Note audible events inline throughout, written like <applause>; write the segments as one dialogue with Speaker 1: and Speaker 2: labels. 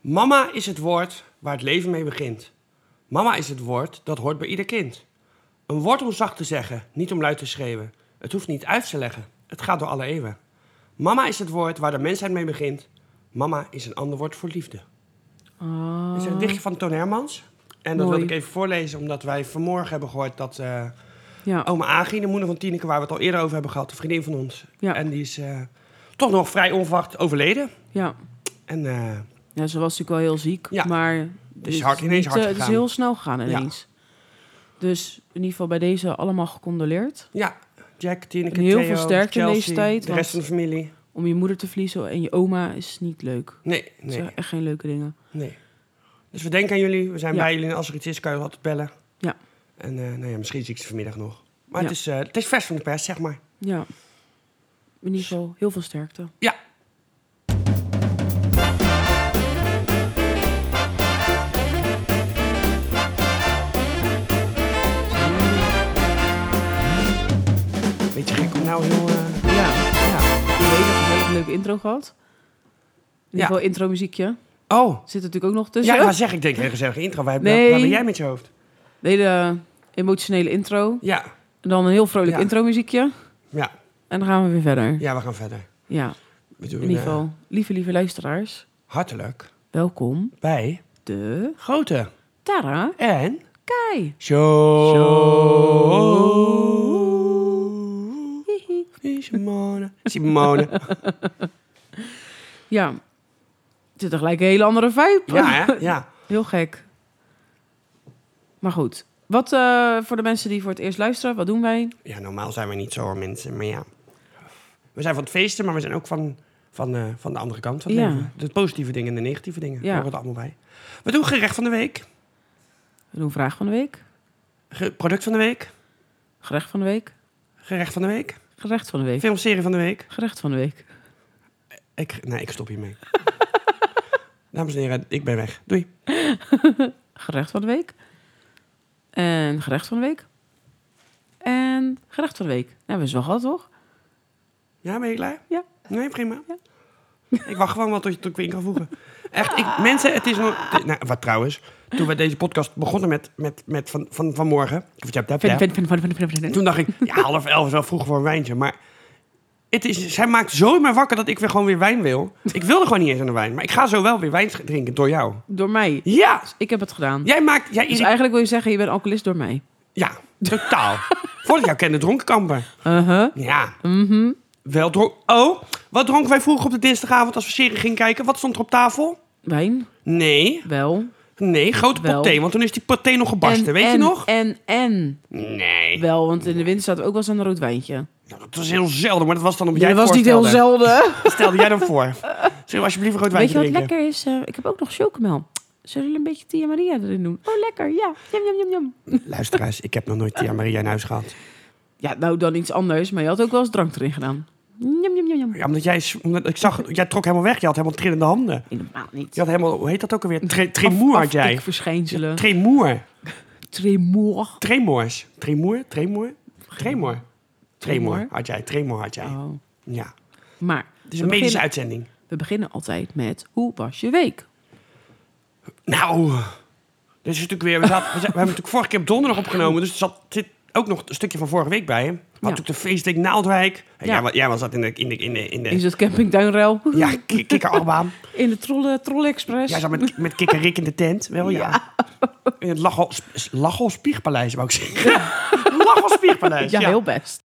Speaker 1: Mama is het woord waar het leven mee begint. Mama is het woord dat hoort bij ieder kind. Een woord om zacht te zeggen, niet om luid te schreeuwen. Het hoeft niet uit te leggen, het gaat door alle eeuwen. Mama is het woord waar de mensheid mee begint. Mama is een ander woord voor liefde. Dit is een dichtje van Toon Hermans. En dat
Speaker 2: Mooi.
Speaker 1: wilde ik even voorlezen, omdat wij vanmorgen hebben gehoord dat eh,
Speaker 2: Ja.
Speaker 1: oma Agie, de moeder van Tineke, waar we het al eerder over hebben gehad, een vriendin van ons.
Speaker 2: Ja.
Speaker 1: En die is eh, toch nog vrij onverwacht overleden.
Speaker 2: ja.
Speaker 1: En eh,
Speaker 2: ja, ze was natuurlijk wel heel ziek,
Speaker 1: Ja.
Speaker 2: maar het
Speaker 1: is hard- ineens
Speaker 2: niet,
Speaker 1: hard
Speaker 2: eh, Het is
Speaker 1: gegaan.
Speaker 2: heel snel gegaan
Speaker 1: Ja.
Speaker 2: ineens. Dus in ieder geval bij deze allemaal gecondoleerd.
Speaker 1: ja, Jack, Tineke,
Speaker 2: En heel
Speaker 1: Theo,
Speaker 2: veel sterkte in deze
Speaker 1: Chelsea,
Speaker 2: tijd,
Speaker 1: De
Speaker 2: want-
Speaker 1: rest van de familie.
Speaker 2: Om je moeder te verliezen en je oma is niet leuk.
Speaker 1: Nee,
Speaker 2: Het
Speaker 1: nee,
Speaker 2: zijn echt geen leuke dingen.
Speaker 1: nee. Dus we denken aan jullie, we zijn
Speaker 2: Ja.
Speaker 1: bij jullie. En als er iets is, kan je altijd bellen.
Speaker 2: Ja.
Speaker 1: En eh, nou ja, misschien zie ik ze vanmiddag nog. Maar
Speaker 2: Ja.
Speaker 1: het, is, eh, het is vers van de pers, zeg maar.
Speaker 2: Ja. In ieder geval heel veel sterkte.
Speaker 1: Ja. Beetje gek om nou heel... eh,
Speaker 2: Ja.
Speaker 1: ja.
Speaker 2: Ik weet dat we wel een leuke intro gehad. In
Speaker 1: Ja.
Speaker 2: ieder geval intro muziekje.
Speaker 1: Oh,
Speaker 2: Zit er natuurlijk ook nog
Speaker 1: ja,
Speaker 2: tussen.
Speaker 1: maar zeg ik denk hele gezellige intro. Waar, waar-
Speaker 2: Nee.
Speaker 1: waar ben jij met je hoofd?
Speaker 2: Een hele emotionele intro.
Speaker 1: Ja,
Speaker 2: En dan een heel vrolijk
Speaker 1: Ja.
Speaker 2: intro muziekje.
Speaker 1: ja,
Speaker 2: En dan gaan we weer verder.
Speaker 1: ja, we gaan verder.
Speaker 2: Ja,
Speaker 1: We
Speaker 2: in
Speaker 1: doen,
Speaker 2: ieder
Speaker 1: eh,
Speaker 2: geval. Lieve, lieve luisteraars.
Speaker 1: hartelijk
Speaker 2: Welkom
Speaker 1: bij
Speaker 2: de
Speaker 1: Grote
Speaker 2: Tara
Speaker 1: en
Speaker 2: Kai.
Speaker 1: Show.
Speaker 2: Hihi.
Speaker 1: Simone. Simone.
Speaker 2: Ja, het zit er gelijk een hele andere vibe.
Speaker 1: Ja,
Speaker 2: <laughs>
Speaker 1: hè? Ja.
Speaker 2: Heel gek. Maar goed, wat eh, voor de mensen die voor het eerst luisteren, wat doen wij?
Speaker 1: ja, normaal zijn we niet zo hoor, mensen. Maar ja. We zijn van het feesten, maar we zijn ook van, van, eh, van de andere kant van het
Speaker 2: Ja.
Speaker 1: leven. De positieve dingen en de negatieve dingen.
Speaker 2: Ja.
Speaker 1: Ja. horen er allemaal bij. We doen gerecht van de week.
Speaker 2: We doen vraag van de week,
Speaker 1: ge- product van de week.
Speaker 2: gerecht van de week,
Speaker 1: Gerecht van de week.
Speaker 2: gerecht van de week,
Speaker 1: Filmserie van de week.
Speaker 2: gerecht van de week.
Speaker 1: Ik, nee, ik stop
Speaker 2: <laughs>
Speaker 1: hiermee. Dames en heren, ik ben weg. Doei.
Speaker 2: gerecht van de week. En gerecht van de week. En gerecht van de week. Nou, we hebben ze wel gehad, toch?
Speaker 1: Ja, ben je klaar?
Speaker 2: Ja.
Speaker 1: Nee, prima. Ik wacht gewoon wel tot, je- tot ik weer in kan voegen. Echt, ik, mensen, het is nog... dit- Nou, wat trouwens, toen we deze podcast begonnen met, met, met van, van, vanmorgen... of ja, ja, ja,
Speaker 2: Vind, vind, vind, vind, vind, vind, vind, vind.
Speaker 1: Toen dacht ik, ja, half elf is wel vroeg voor een wijntje, maar... Het is, zij maakt zo in mij wakker dat ik weer gewoon weer wijn wil. Ik wilde gewoon niet eens aan de wijn, maar ik ga zo wel weer wijn drinken door jou.
Speaker 2: Door mij.
Speaker 1: Ja!
Speaker 2: Dus ik heb het gedaan.
Speaker 1: Jij maakt... Jij
Speaker 2: Dus
Speaker 1: irri-
Speaker 2: eigenlijk wil je zeggen, je bent alcoholist door mij.
Speaker 1: Ja,
Speaker 2: <laughs>
Speaker 1: totaal. Voordat ik jou kende, dronkenkamper.
Speaker 2: Uh-huh.
Speaker 1: Ja. Wel dronk... Oh, wat dronken wij vroeger op de dinsdagavond als we serie gingen kijken? Wat stond er op tafel?
Speaker 2: Wijn,
Speaker 1: Nee,
Speaker 2: wel.
Speaker 1: nee, grote
Speaker 2: Wel.
Speaker 1: pot thee, want toen is die pot thee nog gebarsten,
Speaker 2: en,
Speaker 1: weet
Speaker 2: en,
Speaker 1: je nog?
Speaker 2: En, en,
Speaker 1: Nee,
Speaker 2: wel, want in de winter zaten we ook wel eens aan een rood wijntje.
Speaker 1: Nou, dat was heel zelden, maar dat was dan omdat
Speaker 2: Ja,
Speaker 1: jij
Speaker 2: dat
Speaker 1: het
Speaker 2: was niet heel
Speaker 1: voorstelde.
Speaker 2: zelden.
Speaker 1: Stelde jij dan voor. Zullen we alsjeblieft een rood
Speaker 2: Weet
Speaker 1: wijntje
Speaker 2: je wat
Speaker 1: drinken?
Speaker 2: lekker is? Eh, ik heb ook nog chocomel. Zullen we een beetje Tia Maria erin doen? Oh, lekker, ja. Jam, jam, jam, jam.
Speaker 1: Luisteraars, ik heb nog nooit Tia Maria in huis gehad.
Speaker 2: Ja, nou dan iets anders, maar je had ook wel eens drank erin gedaan. Jam, jam, jam, jam.
Speaker 1: Ja, omdat jij, omdat ik zag, jij trok helemaal weg, je had helemaal trillende handen.
Speaker 2: Helemaal niet.
Speaker 1: Je had helemaal, hoe heet dat ook alweer? Tre, tremoer had jij.
Speaker 2: Afkikverschijnselen.
Speaker 1: Tremoer.
Speaker 2: Tremor.
Speaker 1: Tremoors. Tremoer, tremoer, tremor. Tremor
Speaker 2: Tremor.
Speaker 1: had jij, tremor had jij.
Speaker 2: Oh.
Speaker 1: Ja.
Speaker 2: Maar
Speaker 1: Het is
Speaker 2: we
Speaker 1: een medische
Speaker 2: beginnen-
Speaker 1: uitzending.
Speaker 2: we beginnen altijd met hoe was je week?
Speaker 1: Nou, dit is natuurlijk weer. We, zaten- we, zijn- we hebben natuurlijk vorige keer op donderdag opgenomen, dus er zat, zit ook nog een stukje van vorige week bij. hè? We hadden natuurlijk de feestweek Naaldwijk. En
Speaker 2: Ja.
Speaker 1: Jij, wa- jij was dat in de. In de, in de, in de
Speaker 2: Is het camping Duinruil?
Speaker 1: ja, ki- <laughs> kikkerarmbaan.
Speaker 2: <laughs> In de Trolle, Trolle Express?
Speaker 1: Jij zat met, met kikkerrik in de tent, wel ja. In het Lachel, Sp- Lachel Spiegpaleis, wou ik zeggen. <laughs> Lachel Spiegpaleis,
Speaker 2: ja,
Speaker 1: ja.
Speaker 2: heel best.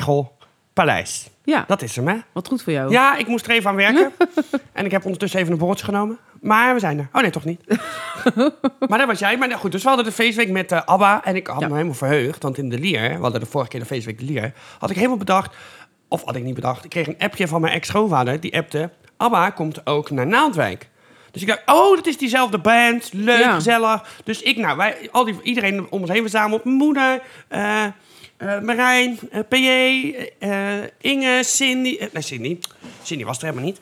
Speaker 1: Spiegelpaleis.
Speaker 2: Ja,
Speaker 1: Dat is hem, hè?
Speaker 2: wat goed voor jou.
Speaker 1: Ja, ik moest er even aan werken. en ik heb ondertussen even een borreltje genomen. Maar we zijn er. Oh nee, toch niet. <laughs> maar dat was jij. Maar nou goed, dus we hadden de feestweek met eh, ABBA. En ik had
Speaker 2: Ja.
Speaker 1: me helemaal verheugd. Want in de Lier, we hadden de vorige keer de feestweek de Lier. Had ik helemaal bedacht, of had ik niet bedacht. Ik kreeg een appje van mijn ex-schoonvader. Die appte, ABBA komt ook naar Naaldwijk. Dus ik dacht, oh, dat is diezelfde band. Leuk,
Speaker 2: Ja.
Speaker 1: gezellig. Dus ik, nou, wij, al die, iedereen om ons heen verzameld. Mijn moeder, eh, eh, Marijn, eh, PJ, eh, eh, Inge, Cindy. eh, nee, Cindy. Cindy was er helemaal niet.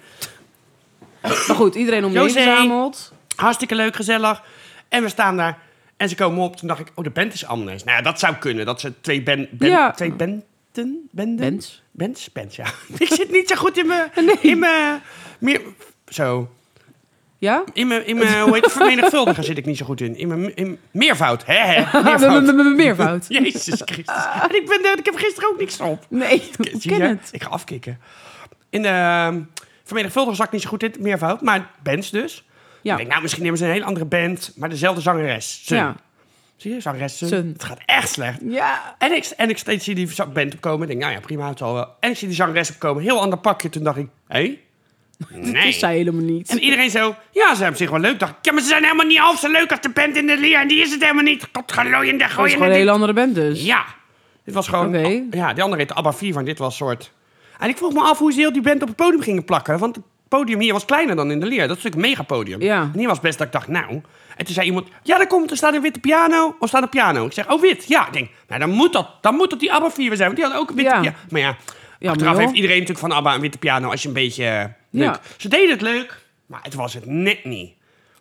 Speaker 2: Maar goed, iedereen om je heen
Speaker 1: José.
Speaker 2: verzameld.
Speaker 1: Hartstikke leuk, gezellig. En we staan daar. En ze komen op, toen dacht ik, oh, de band is anders. Nou ja, dat zou kunnen, dat ze twee, ben, ben-
Speaker 2: Ja.
Speaker 1: twee benten... Benden?
Speaker 2: Bens.
Speaker 1: Bens, Bens, ja. <laughs> ik zit niet zo goed in mijn... In mijn... Meer... Zo.
Speaker 2: Ja? <laughs>
Speaker 1: In mijn, in mijn hoe heet het, vermenigvuldigen zit ik niet zo goed in. In mijn in, meervoud. Hè,
Speaker 2: <laughs>
Speaker 1: hè, meervoud. <laughs>
Speaker 2: Meervoud.
Speaker 1: Jezus Christus. En ik, ben, er- ik heb gisteren ook niks op.
Speaker 2: Nee, ik
Speaker 1: Zie
Speaker 2: ken
Speaker 1: je?
Speaker 2: het.
Speaker 1: Ik ga afkicken. In de vermenigvuldigen zat ik niet zo goed in, meervoud. Maar bands dus.
Speaker 2: Ja.
Speaker 1: Ik denk, nou, misschien hebben ze een hele andere band, maar dezelfde zangeres. Sun.
Speaker 2: Ja.
Speaker 1: Zie je, zangeres Sun.
Speaker 2: Sun.
Speaker 1: Het gaat echt slecht.
Speaker 2: Ja.
Speaker 1: En ik, en ik steeds zie die band opkomen. Ik denk, nou ja, prima, het zal wel. En ik zie die zangeres opkomen. Heel ander pakje. Toen dacht ik, hé?
Speaker 2: <laughs> Dat
Speaker 1: Nee.
Speaker 2: is zij helemaal niet.
Speaker 1: En iedereen zo, ja, ze hebben zich wel leuk. Dacht ik, ja, maar ze zijn helemaal niet half zo leuk als de band in de leer. En die is het helemaal niet. Tot glooiende,
Speaker 2: dat is gewoon
Speaker 1: gooiende.
Speaker 2: een
Speaker 1: dit-
Speaker 2: hele andere band dus.
Speaker 1: Ja. Dit was gewoon...
Speaker 2: Oké.
Speaker 1: Ja, die andere heette ABBA 4, van dit was soort... En ik vroeg me af hoe ze heel die band op het podium gingen plakken. Want het podium hier was kleiner dan in de leer. Dat is natuurlijk een megapodium.
Speaker 2: Ja.
Speaker 1: En hier was best dat ik dacht, nou... En toen zei iemand, ja, daar komt, er staat een witte piano. Of staat een piano. Ik zeg, oh, wit. Ja, ik denk, nou, dan moet dat, dan moet dat die ABBA 4 weer zijn. Want die had ook een witte
Speaker 2: Ja.
Speaker 1: piano. Maar ja,
Speaker 2: Ja,
Speaker 1: achteraf
Speaker 2: maar joh.
Speaker 1: heeft iedereen natuurlijk van ABBA een witte piano. Als je een beetje... eh, leuk.
Speaker 2: Ja.
Speaker 1: Ze deden het leuk, maar het was het net niet.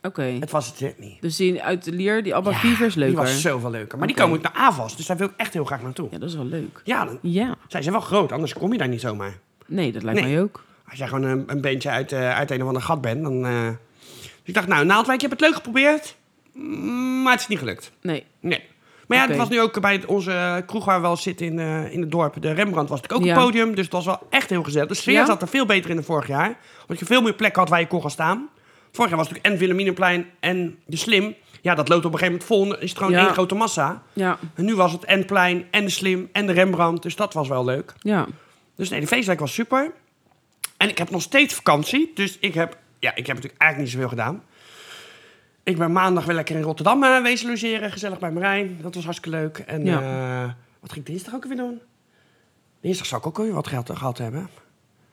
Speaker 2: Oké.
Speaker 1: Het was het net niet.
Speaker 2: Dus die uit de leer, die Abba
Speaker 1: Ja,
Speaker 2: Fever is
Speaker 1: Die
Speaker 2: leuker.
Speaker 1: was zoveel leuker. Maar
Speaker 2: Oké.
Speaker 1: die komen ook naar AVAS, dus daar wil ik echt heel graag naartoe.
Speaker 2: Ja, dat is wel leuk.
Speaker 1: Ja, dan
Speaker 2: Ja.
Speaker 1: zijn ze wel groot, anders kom je daar niet zomaar.
Speaker 2: Nee, dat lijkt
Speaker 1: Nee.
Speaker 2: mij ook.
Speaker 1: Als jij gewoon een, een beentje uit, eh, uit een of ander gat bent, dan... eh, Dus ik dacht, nou, Naaldwijk, je hebt het leuk geprobeerd, mm, maar het is niet gelukt.
Speaker 2: Nee.
Speaker 1: Nee. Maar ja,
Speaker 2: Oké.
Speaker 1: het was nu ook bij het- onze kroeg waar we wel zitten in, eh, in het dorp. De Rembrandt was natuurlijk ook
Speaker 2: Ja.
Speaker 1: een podium, dus het was wel echt heel gezellig. De sfeer
Speaker 2: Ja?
Speaker 1: zat er veel beter in dan vorig jaar. Omdat je veel meer plekken had waar je kon gaan staan. Vorig jaar was het natuurlijk en Wilhelminaplein en de Slim. Ja, dat loopt op een gegeven moment vol en dan is het gewoon
Speaker 2: Ja.
Speaker 1: één grote massa.
Speaker 2: Ja.
Speaker 1: En nu was het en Plein en de Slim en de Rembrandt, dus dat was wel leuk.
Speaker 2: Ja.
Speaker 1: Dus nee, de feestwijk was super. En ik heb nog steeds vakantie. Dus ik heb, ja, ik heb natuurlijk eigenlijk niet zoveel gedaan. Ik ben maandag weer lekker in Rotterdam eh, wezen logeren. Gezellig bij Marijn. Dat was hartstikke leuk. En
Speaker 2: Ja.
Speaker 1: eh, wat ging ik dinsdag ook weer doen? Dinsdag zou ik ook weer wat geld gehad hebben.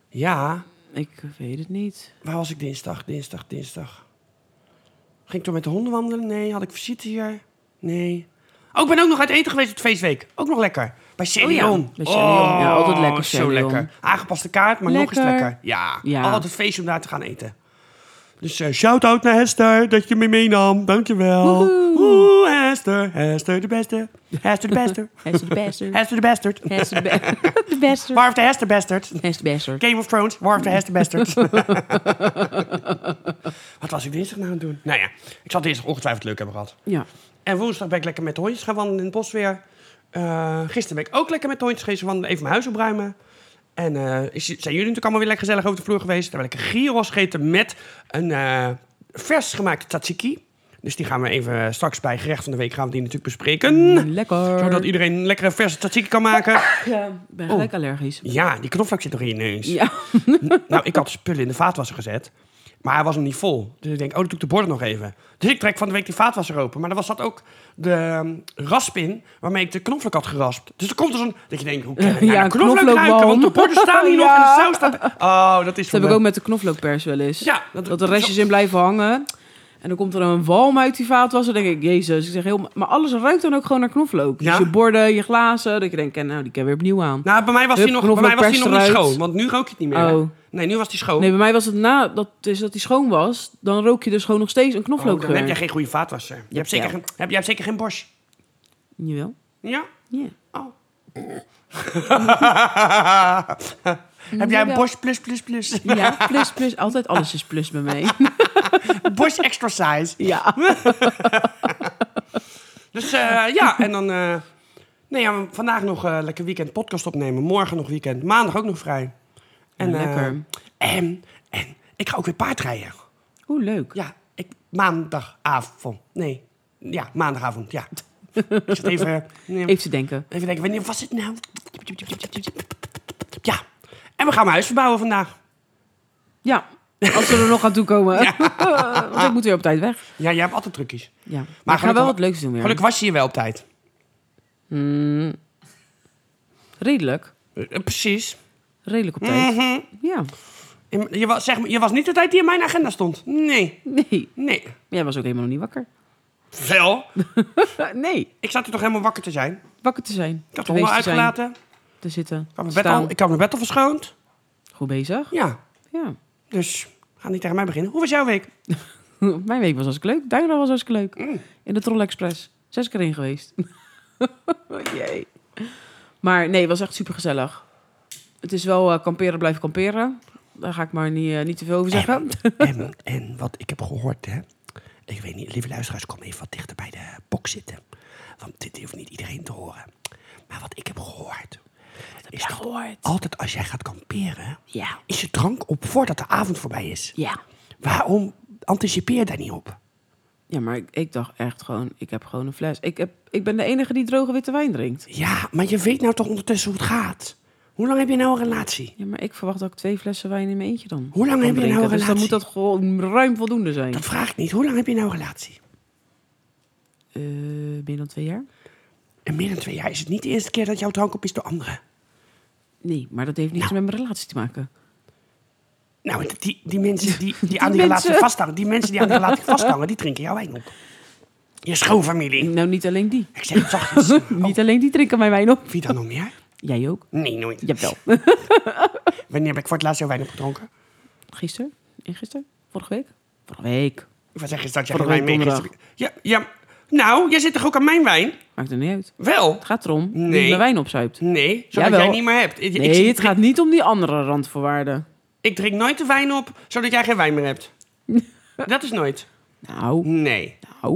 Speaker 1: Ja,
Speaker 2: Ik weet het niet.
Speaker 1: waar was ik dinsdag? Dinsdag, dinsdag. Ging ik toen met de honden wandelen? Nee. Had ik visite hier? Nee. Oh, ik ben ook nog uit eten geweest op de feestweek. Ook nog lekker. Bij Celion.
Speaker 2: Oh bij Celion. Ja, altijd lekker,
Speaker 1: Zo
Speaker 2: Celion.
Speaker 1: lekker. Aangepaste kaart, maar nog eens
Speaker 2: Lekker.
Speaker 1: lekker. Ja,
Speaker 2: Ja.
Speaker 1: altijd feest om daar te gaan eten. Dus eh, shout-out naar Hester dat je me meenam. Dankjewel.
Speaker 2: Woehoe.
Speaker 1: Oeh, Hester. Hester de beste. Hester de beste.
Speaker 2: Hij is de beste.
Speaker 1: <laughs> Hester de besterd.
Speaker 2: Hij is
Speaker 1: <laughs>
Speaker 2: de be- <laughs> de beste.
Speaker 1: Waar heeft de Hester besterd?
Speaker 2: Hij is de beste.
Speaker 1: Game of Thrones, War of the Hester Bastards. <laughs> Wat was ik dinsdag nou aan het doen? Nou ja, ik zal dinsdag ongetwijfeld leuk hebben gehad.
Speaker 2: Ja.
Speaker 1: En woensdag ben ik lekker met de hondjes gaan wandelen in het bos weer. Eh, gisteren ben ik ook lekker met de hondjes geweest wandelen, even mijn huis opruimen. En eh, is- zijn jullie natuurlijk allemaal weer lekker gezellig over de vloer geweest. Daar ben ik een gyros gegeten met een eh, vers gemaakte tzatziki. Dus die gaan we even eh, straks bij gerecht van de week gaan we die natuurlijk
Speaker 2: Mm.
Speaker 1: bespreken.
Speaker 2: Lekker.
Speaker 1: Zodat iedereen een lekkere verse tzatziki kan maken.
Speaker 2: Ja.
Speaker 1: Oh.
Speaker 2: Ik ben gelijk allergisch.
Speaker 1: Ja, die knoflook zit nog in je neus.
Speaker 2: Ja.
Speaker 1: Nou, ik had de spullen in de vaatwasser gezet. Maar hij was nog niet vol. Dus ik denk, oh, dan doe ik de borden nog even. Dus ik trek van de week die vaatwasser open. Maar er was dat ook de ehm, rasp in waarmee ik de knoflook had geraspt. Dus er komt dus een... Dat je denkt, hoe kan ik
Speaker 2: <laughs> Ja,
Speaker 1: naar
Speaker 2: een
Speaker 1: de knoflook
Speaker 2: knoflookwalm.
Speaker 1: ruiken? Want de borden staan hier nog en
Speaker 2: <laughs> Ja.
Speaker 1: de saus staat... Oh, dat is
Speaker 2: Dat
Speaker 1: voor
Speaker 2: heb ik
Speaker 1: me.
Speaker 2: ook met de knoflookpers wel eens.
Speaker 1: Ja, dat-
Speaker 2: dat de restjes in blijven hangen. En dan komt er een walm uit die vaatwasser. Dan denk ik, jezus. Ik zeg heel, maar alles ruikt dan ook gewoon naar knoflook. Dus
Speaker 1: Ja.
Speaker 2: je borden, je glazen. Dat je denkt, nou, die kan weer opnieuw aan.
Speaker 1: Nou, bij mij was
Speaker 2: Hup,
Speaker 1: die nog, bij mij was die nog niet
Speaker 2: knoflookpers eruit.
Speaker 1: schoon. Want nu rook je het niet meer.
Speaker 2: Oh.
Speaker 1: Nee, nu was die schoon.
Speaker 2: Nee, bij mij was het na dat, dus dat die schoon was. Dan rook je dus gewoon nog steeds een
Speaker 1: oh, dan
Speaker 2: knoflookgeur.
Speaker 1: heb jij geen goede vaatwasser. Je hebt zeker,
Speaker 2: Jawel.
Speaker 1: geen, heb, jij hebt zeker geen Bosch.
Speaker 2: Jawel.
Speaker 1: Ja? <laughs>
Speaker 2: Ja.
Speaker 1: Oh. heb jij een
Speaker 2: Mm, Jawel.
Speaker 1: Bosch plus plus
Speaker 2: <laughs>
Speaker 1: plus?
Speaker 2: Ja, plus, plus. Altijd alles is plus bij
Speaker 1: <laughs>
Speaker 2: mij.
Speaker 1: Bosch extra size.
Speaker 2: Ja.
Speaker 1: Dus eh, <laughs> ja, en dan... eh, nee, ja, vandaag nog eh, lekker weekend podcast opnemen. Morgen nog weekend. Maandag ook nog vrij. En, eh,
Speaker 2: Lekker.
Speaker 1: en, en ik ga ook weer paardrijden.
Speaker 2: Hoe leuk.
Speaker 1: Ja, ik, maandagavond. Nee, ja, maandagavond, ja. <laughs> ik zit even... eh, nee,
Speaker 2: Even te denken.
Speaker 1: even denken, wanneer was het nou? Ja, en we gaan mijn huis verbouwen vandaag.
Speaker 2: Ja. Als we er nog aan toe komen. <laughs> Want ik moet weer op tijd weg.
Speaker 1: Ja, jij hebt altijd trucjes.
Speaker 2: Ja. Maar, ik ga
Speaker 1: gelukkig-
Speaker 2: wel wat leuks doen weer.
Speaker 1: Gelukkig was je hier wel op tijd.
Speaker 2: Redelijk.
Speaker 1: Eh, Precies.
Speaker 2: Redelijk op tijd.
Speaker 1: Mhm.
Speaker 2: Ja.
Speaker 1: Je- Je was, zeg, maar- je was niet de tijd die in mijn agenda stond. Nee,
Speaker 2: Nee.
Speaker 1: nee.
Speaker 2: Jij was ook helemaal nog niet wakker.
Speaker 1: Wel,
Speaker 2: <laughs> nee.
Speaker 1: ik zat er toch helemaal wakker te zijn.
Speaker 2: Wakker te zijn.
Speaker 1: Ik had de
Speaker 2: Geweest
Speaker 1: honden
Speaker 2: te zijn,
Speaker 1: uitgelaten. Ik
Speaker 2: Te zitten.
Speaker 1: had, mijn bed
Speaker 2: staan.
Speaker 1: al, ik had mijn bed al verschoond.
Speaker 2: Goed bezig.
Speaker 1: Ja,
Speaker 2: Ja. <laughs>
Speaker 1: dus ga niet tegen mij beginnen. Hoe was jouw week?
Speaker 2: Mm. Mijn week was hartstikke leuk. Duinrol was hartstikke leuk. In de Troll Express. Zes keer heen geweest. <laughs> Jee. Maar nee, het was echt super gezellig. Het is wel eh, kamperen, blijven kamperen. Daar ga ik maar niet, eh, niet te veel over
Speaker 1: <laughs>
Speaker 2: zeggen.
Speaker 1: En, en wat ik heb gehoord, hè. Ik weet niet, lieve luisteraars, kom even wat dichter bij de box zitten. Want dit hoeft niet iedereen te horen. Maar wat ik heb gehoord, is dat
Speaker 2: gehoord?
Speaker 1: altijd als jij gaat kamperen,
Speaker 2: Ja.
Speaker 1: is je drank op voordat de avond voorbij is.
Speaker 2: Ja.
Speaker 1: Waarom anticipeer je daar niet op?
Speaker 2: Ja, maar ik, ik dacht echt gewoon, ik heb gewoon een fles. Ik, heb, ik ben de enige die droge witte wijn drinkt.
Speaker 1: Ja, maar je weet nou toch ondertussen hoe het gaat? Hoe lang heb je nou een relatie?
Speaker 2: Ja, maar ik verwacht dat ik twee flessen wijn in mijn eentje dan.
Speaker 1: Hoe lang
Speaker 2: kan
Speaker 1: heb je nou
Speaker 2: drinken.
Speaker 1: een
Speaker 2: Dus dan moet
Speaker 1: relatie?
Speaker 2: dat gewoon ruim voldoende zijn.
Speaker 1: Dat vraag ik niet. Hoe lang heb je nou een relatie?
Speaker 2: Eh, meer dan twee jaar?
Speaker 1: En meer dan twee jaar is het niet de eerste keer dat jouw drank op is door anderen.
Speaker 2: Nee, maar dat heeft niks
Speaker 1: Nou.
Speaker 2: met mijn relatie te maken.
Speaker 1: Nou, en die, die mensen die, die,
Speaker 2: <laughs>
Speaker 1: aan die
Speaker 2: mensen.
Speaker 1: relatie vasthangen, die mensen die aan die
Speaker 2: <laughs>
Speaker 1: relatie vasthangen, die drinken jouw wijn op. Je schoonfamilie.
Speaker 2: Nou, niet alleen die.
Speaker 1: Ik zeg het zachtjes.
Speaker 2: <laughs>
Speaker 1: Oh,
Speaker 2: Niet alleen die drinken mijn wijn op.
Speaker 1: wie dan nog meer?
Speaker 2: Jij ook?
Speaker 1: Nee, nooit. <laughs>
Speaker 2: Jawel.
Speaker 1: Wanneer heb ik voor het laatst jouw wijn opgedronken?
Speaker 2: Gisteren? Eergisteren? Vorige week? Vorige week.
Speaker 1: Ik was zeggen dat jij
Speaker 2: Vorige
Speaker 1: geen wijn
Speaker 2: week
Speaker 1: mee Ja, ja. Nou, jij zit toch ook aan mijn wijn?
Speaker 2: Maakt er niet uit.
Speaker 1: Wel.
Speaker 2: Het gaat erom dat
Speaker 1: Nee.
Speaker 2: je mijn wijn opzuipt.
Speaker 1: Nee, zodat
Speaker 2: Jawel.
Speaker 1: jij niet meer hebt. Ik, ik-
Speaker 2: Nee,
Speaker 1: ik,
Speaker 2: het gaat niet om die andere randvoorwaarden.
Speaker 1: ik drink nooit de wijn op, zodat jij geen wijn meer
Speaker 2: <laughs>
Speaker 1: hebt. dat is nooit.
Speaker 2: Nou,
Speaker 1: Nee.
Speaker 2: nou.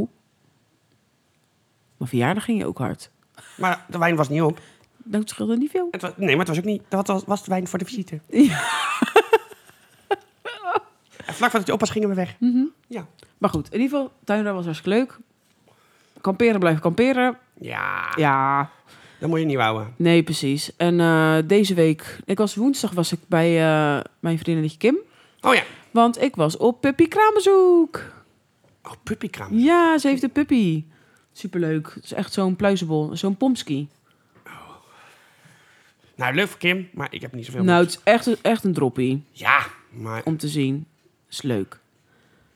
Speaker 2: Mijn verjaardag ging je ook hard.
Speaker 1: Maar de wijn was niet op.
Speaker 2: Nou, het scheelde niet veel.
Speaker 1: Het was, nee, maar het was ook niet. Dat was, was de wijn voor de visite. En vlak voordat je op was, gingen we weg. Ja.
Speaker 2: Maar goed, in ieder geval, tuinruim was hartstikke leuk. Kamperen blijven kamperen.
Speaker 1: ja.
Speaker 2: Ja,
Speaker 1: Dat moet je niet houden.
Speaker 2: nee, precies. En eh, deze week, ik was woensdag was ik bij eh, mijn vriendinnetje Kim.
Speaker 1: Oh ja.
Speaker 2: Want ik was op puppy kraambezoek.
Speaker 1: Oh, puppykraam.
Speaker 2: Ja, ze heeft een puppy. Superleuk. Het is echt zo'n pluizebol, zo'n pomski.
Speaker 1: Nou, leuk voor Kim, maar ik heb niet zoveel.
Speaker 2: Nou, het is echt, een- echt een droppie
Speaker 1: Ja, maar.
Speaker 2: om te zien. Is leuk.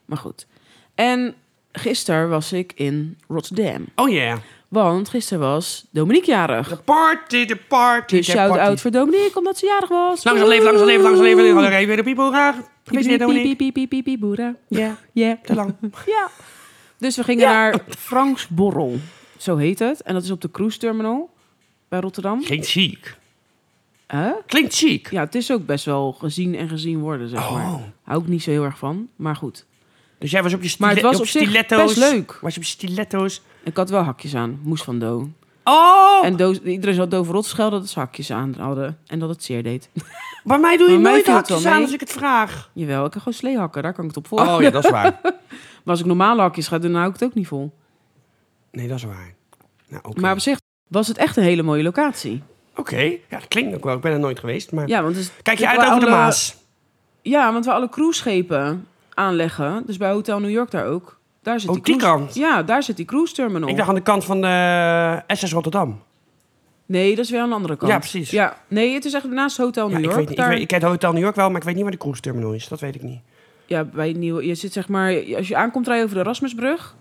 Speaker 2: Maar goed. En gisteren was ik in Rotterdam.
Speaker 1: Oh ja.
Speaker 2: Want gisteren was Dominique jarig.
Speaker 1: De party, de party.
Speaker 2: Dus
Speaker 1: de
Speaker 2: shout-out
Speaker 1: party.
Speaker 2: voor Dominique, omdat ze jarig was.
Speaker 1: Langs een leven, langs een leven, langs een leven.
Speaker 2: Woe!
Speaker 1: Langs een leven. De people graag. Gefeliciteerd,
Speaker 2: Piep,
Speaker 1: Dominique.
Speaker 2: piep, piep, piep, piep, piep, boera.
Speaker 1: Ja,
Speaker 2: Ja.
Speaker 1: te lang.
Speaker 2: Ja. Dus we gingen naar Franks Borrel. Zo heet het. En dat is op de cruise terminal bij Rotterdam.
Speaker 1: Klinkt ziek.
Speaker 2: Hè?
Speaker 1: Klinkt ziek.
Speaker 2: Ja, het is ook best wel gezien en gezien worden, zeg maar.
Speaker 1: Oh.
Speaker 2: Hou ik niet zo heel erg van, maar goed.
Speaker 1: Dus jij was op je stile-
Speaker 2: Maar het was
Speaker 1: op
Speaker 2: op zich
Speaker 1: stiletto's.
Speaker 2: best leuk.
Speaker 1: Was je op je stiletto's.
Speaker 2: Ik had wel hakjes aan, moest van Do.
Speaker 1: Oh!
Speaker 2: En Do, iedereen zat Do voor rotschel dat ze hakjes aan hadden en dat het zeer deed. <laughs>
Speaker 1: Bij mij doe je
Speaker 2: Bij mij
Speaker 1: nooit
Speaker 2: viel het wel
Speaker 1: hakjes aan
Speaker 2: mee.
Speaker 1: als ik het vraag.
Speaker 2: Jawel, ik kan gewoon sleehakken, daar kan ik het op vol.
Speaker 1: Oh ja, dat is waar.
Speaker 2: Maar als ik normale hakjes ga doen, dan hou ik het ook niet vol.
Speaker 1: <laughs> Nee, dat is waar. Nou, oké.
Speaker 2: Maar op zich was het echt een hele mooie locatie.
Speaker 1: Oké, ja, dat klinkt ook wel. Ik ben er nooit geweest. Maar...
Speaker 2: Ja, want dus,
Speaker 1: Kijk je
Speaker 2: dus
Speaker 1: uit
Speaker 2: waar
Speaker 1: over de
Speaker 2: alle-
Speaker 1: Maas?
Speaker 2: Ja, want we alle cruiseschepen aanleggen. Dus bij Hotel New York daar ook. Daar zit
Speaker 1: Oh, die
Speaker 2: cruise-
Speaker 1: kant.
Speaker 2: Ja, daar zit die cruise terminal.
Speaker 1: Ik dacht aan de kant van de SS Rotterdam.
Speaker 2: Nee, dat is weer aan de andere kant.
Speaker 1: Ja, precies.
Speaker 2: Ja, nee, het is echt naast Hotel
Speaker 1: Ja, ik,
Speaker 2: New York.
Speaker 1: weet niet, ik,
Speaker 2: daar-
Speaker 1: weet, ik ken Hotel New York wel, maar ik weet niet waar de cruise terminal is. Dat weet ik niet.
Speaker 2: Ja, bij Nieuw... Je zit zeg maar... Als je aankomt rijden over de Erasmusbrug...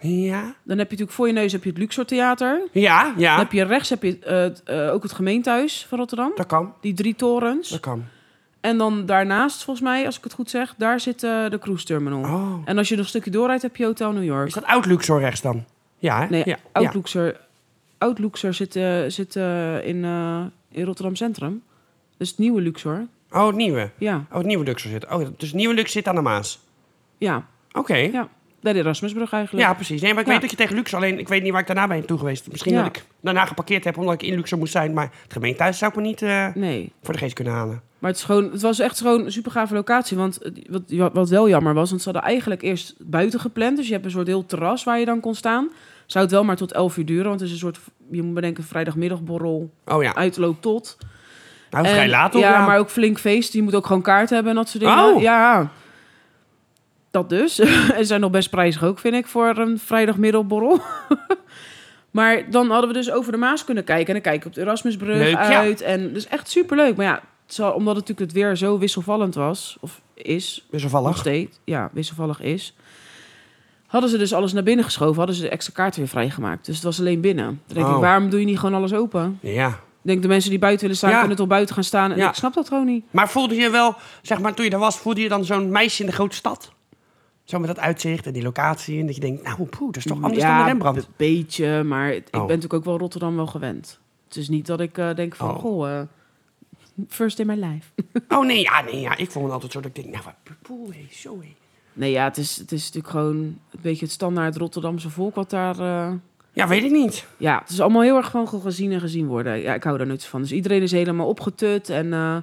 Speaker 1: Ja?
Speaker 2: Dan heb je natuurlijk voor je neus heb je het Luxor Theater.
Speaker 1: Ja, ja.
Speaker 2: Dan heb je rechts heb je, eh, het, eh, ook het gemeentehuis van Rotterdam.
Speaker 1: Dat kan,
Speaker 2: Die drie torens.
Speaker 1: dat kan.
Speaker 2: En dan daarnaast, volgens mij, als ik het goed zeg... Daar zit eh, de cruise terminal.
Speaker 1: Oh.
Speaker 2: En als je nog een stukje doorrijdt, heb je Hotel New York.
Speaker 1: Is dat Oud Luxor rechts dan? Ja, hè?
Speaker 2: Nee,
Speaker 1: ja.
Speaker 2: Oud Luxor, Oud Luxor zit, eh, zit eh, in, eh, in Rotterdam Centrum. Dus het nieuwe Luxor.
Speaker 1: Ja. Oh, het nieuwe.
Speaker 2: Ja,
Speaker 1: Oh, het nieuwe Luxor zit. Oh, dus het nieuwe Luxor zit aan de Maas.
Speaker 2: ja,
Speaker 1: Oké. Ja.
Speaker 2: ja. Bij de Erasmusbrug eigenlijk.
Speaker 1: precies. Nee, maar ik
Speaker 2: Ja.
Speaker 1: weet dat je tegen Luxor alleen... Ik weet niet waar ik daarna ben toe geweest. Misschien
Speaker 2: Ja.
Speaker 1: dat ik daarna geparkeerd heb omdat ik in Luxor moest zijn. Maar het gemeentehuis zou ik me niet eh,
Speaker 2: Nee.
Speaker 1: voor de geest kunnen halen.
Speaker 2: Maar het, is gewoon, het was echt gewoon een super gave locatie. Want het- wat, wat wel jammer was, want ze hadden eigenlijk eerst buiten gepland. Dus je hebt een soort heel terras waar je dan kon staan. Zou het wel maar tot 11 uur duren, want het is een soort, je moet bedenken, vrijdagmiddagborrel,
Speaker 1: Oh ja.
Speaker 2: uitloop tot.
Speaker 1: Nou,
Speaker 2: En-
Speaker 1: vrij laat op.
Speaker 2: ja, maar ook flink feest. Je moet ook gewoon kaart hebben en dat soort dingen.
Speaker 1: Oh.
Speaker 2: Ja, dat dus. <laughs> en zijn nog best prijzig ook, vind ik, voor een vrijdagmiddagborrel. <laughs> maar dan hadden we dus over de Maas kunnen kijken. En dan kijk ik op de Erasmusbrug
Speaker 1: Leuk, ja.
Speaker 2: uit. En dus echt superleuk. Maar ja, het zal- omdat het natuurlijk het weer zo wisselvallend was, of is, nog
Speaker 1: Wisselvallig.
Speaker 2: steeds, ja, wisselvallig is. Hadden ze dus alles naar binnen geschoven, hadden ze de extra kaart weer vrijgemaakt. Dus het was alleen binnen. Dan denk
Speaker 1: Oh.
Speaker 2: ik, waarom doe je niet gewoon alles open?
Speaker 1: Ja.
Speaker 2: Ik denk, de mensen die buiten willen staan,
Speaker 1: Ja.
Speaker 2: kunnen toch buiten gaan staan. En
Speaker 1: Ja.
Speaker 2: ik snap dat gewoon niet.
Speaker 1: Maar voelde je wel, zeg maar, toen je daar was, voelde je dan zo'n meisje in de grote stad? Zo met dat uitzicht en die locatie. En dat je denkt, nou, poeh, dat is toch anders dan de Rembrandt.
Speaker 2: Mm, Een beetje, maar het- ik ben
Speaker 1: Oh.
Speaker 2: natuurlijk ook wel Rotterdam wel gewend. Het is niet dat ik eh, denk van,
Speaker 1: Oh.
Speaker 2: goh, eh, first in my life. <laughs>
Speaker 1: Oh nee, ja, nee, ja. Ik vond het altijd zo dat ik denk, nou, wat poeh, hé, zo hé.
Speaker 2: Nee, ja, het is, het is natuurlijk gewoon een beetje het standaard Rotterdamse volk wat daar... eh,
Speaker 1: Ja, weet ik niet.
Speaker 2: ja, het is allemaal heel erg van gezien en gezien worden. Ja, ik hou daar nooit van. Dus iedereen is helemaal opgetut en... eh,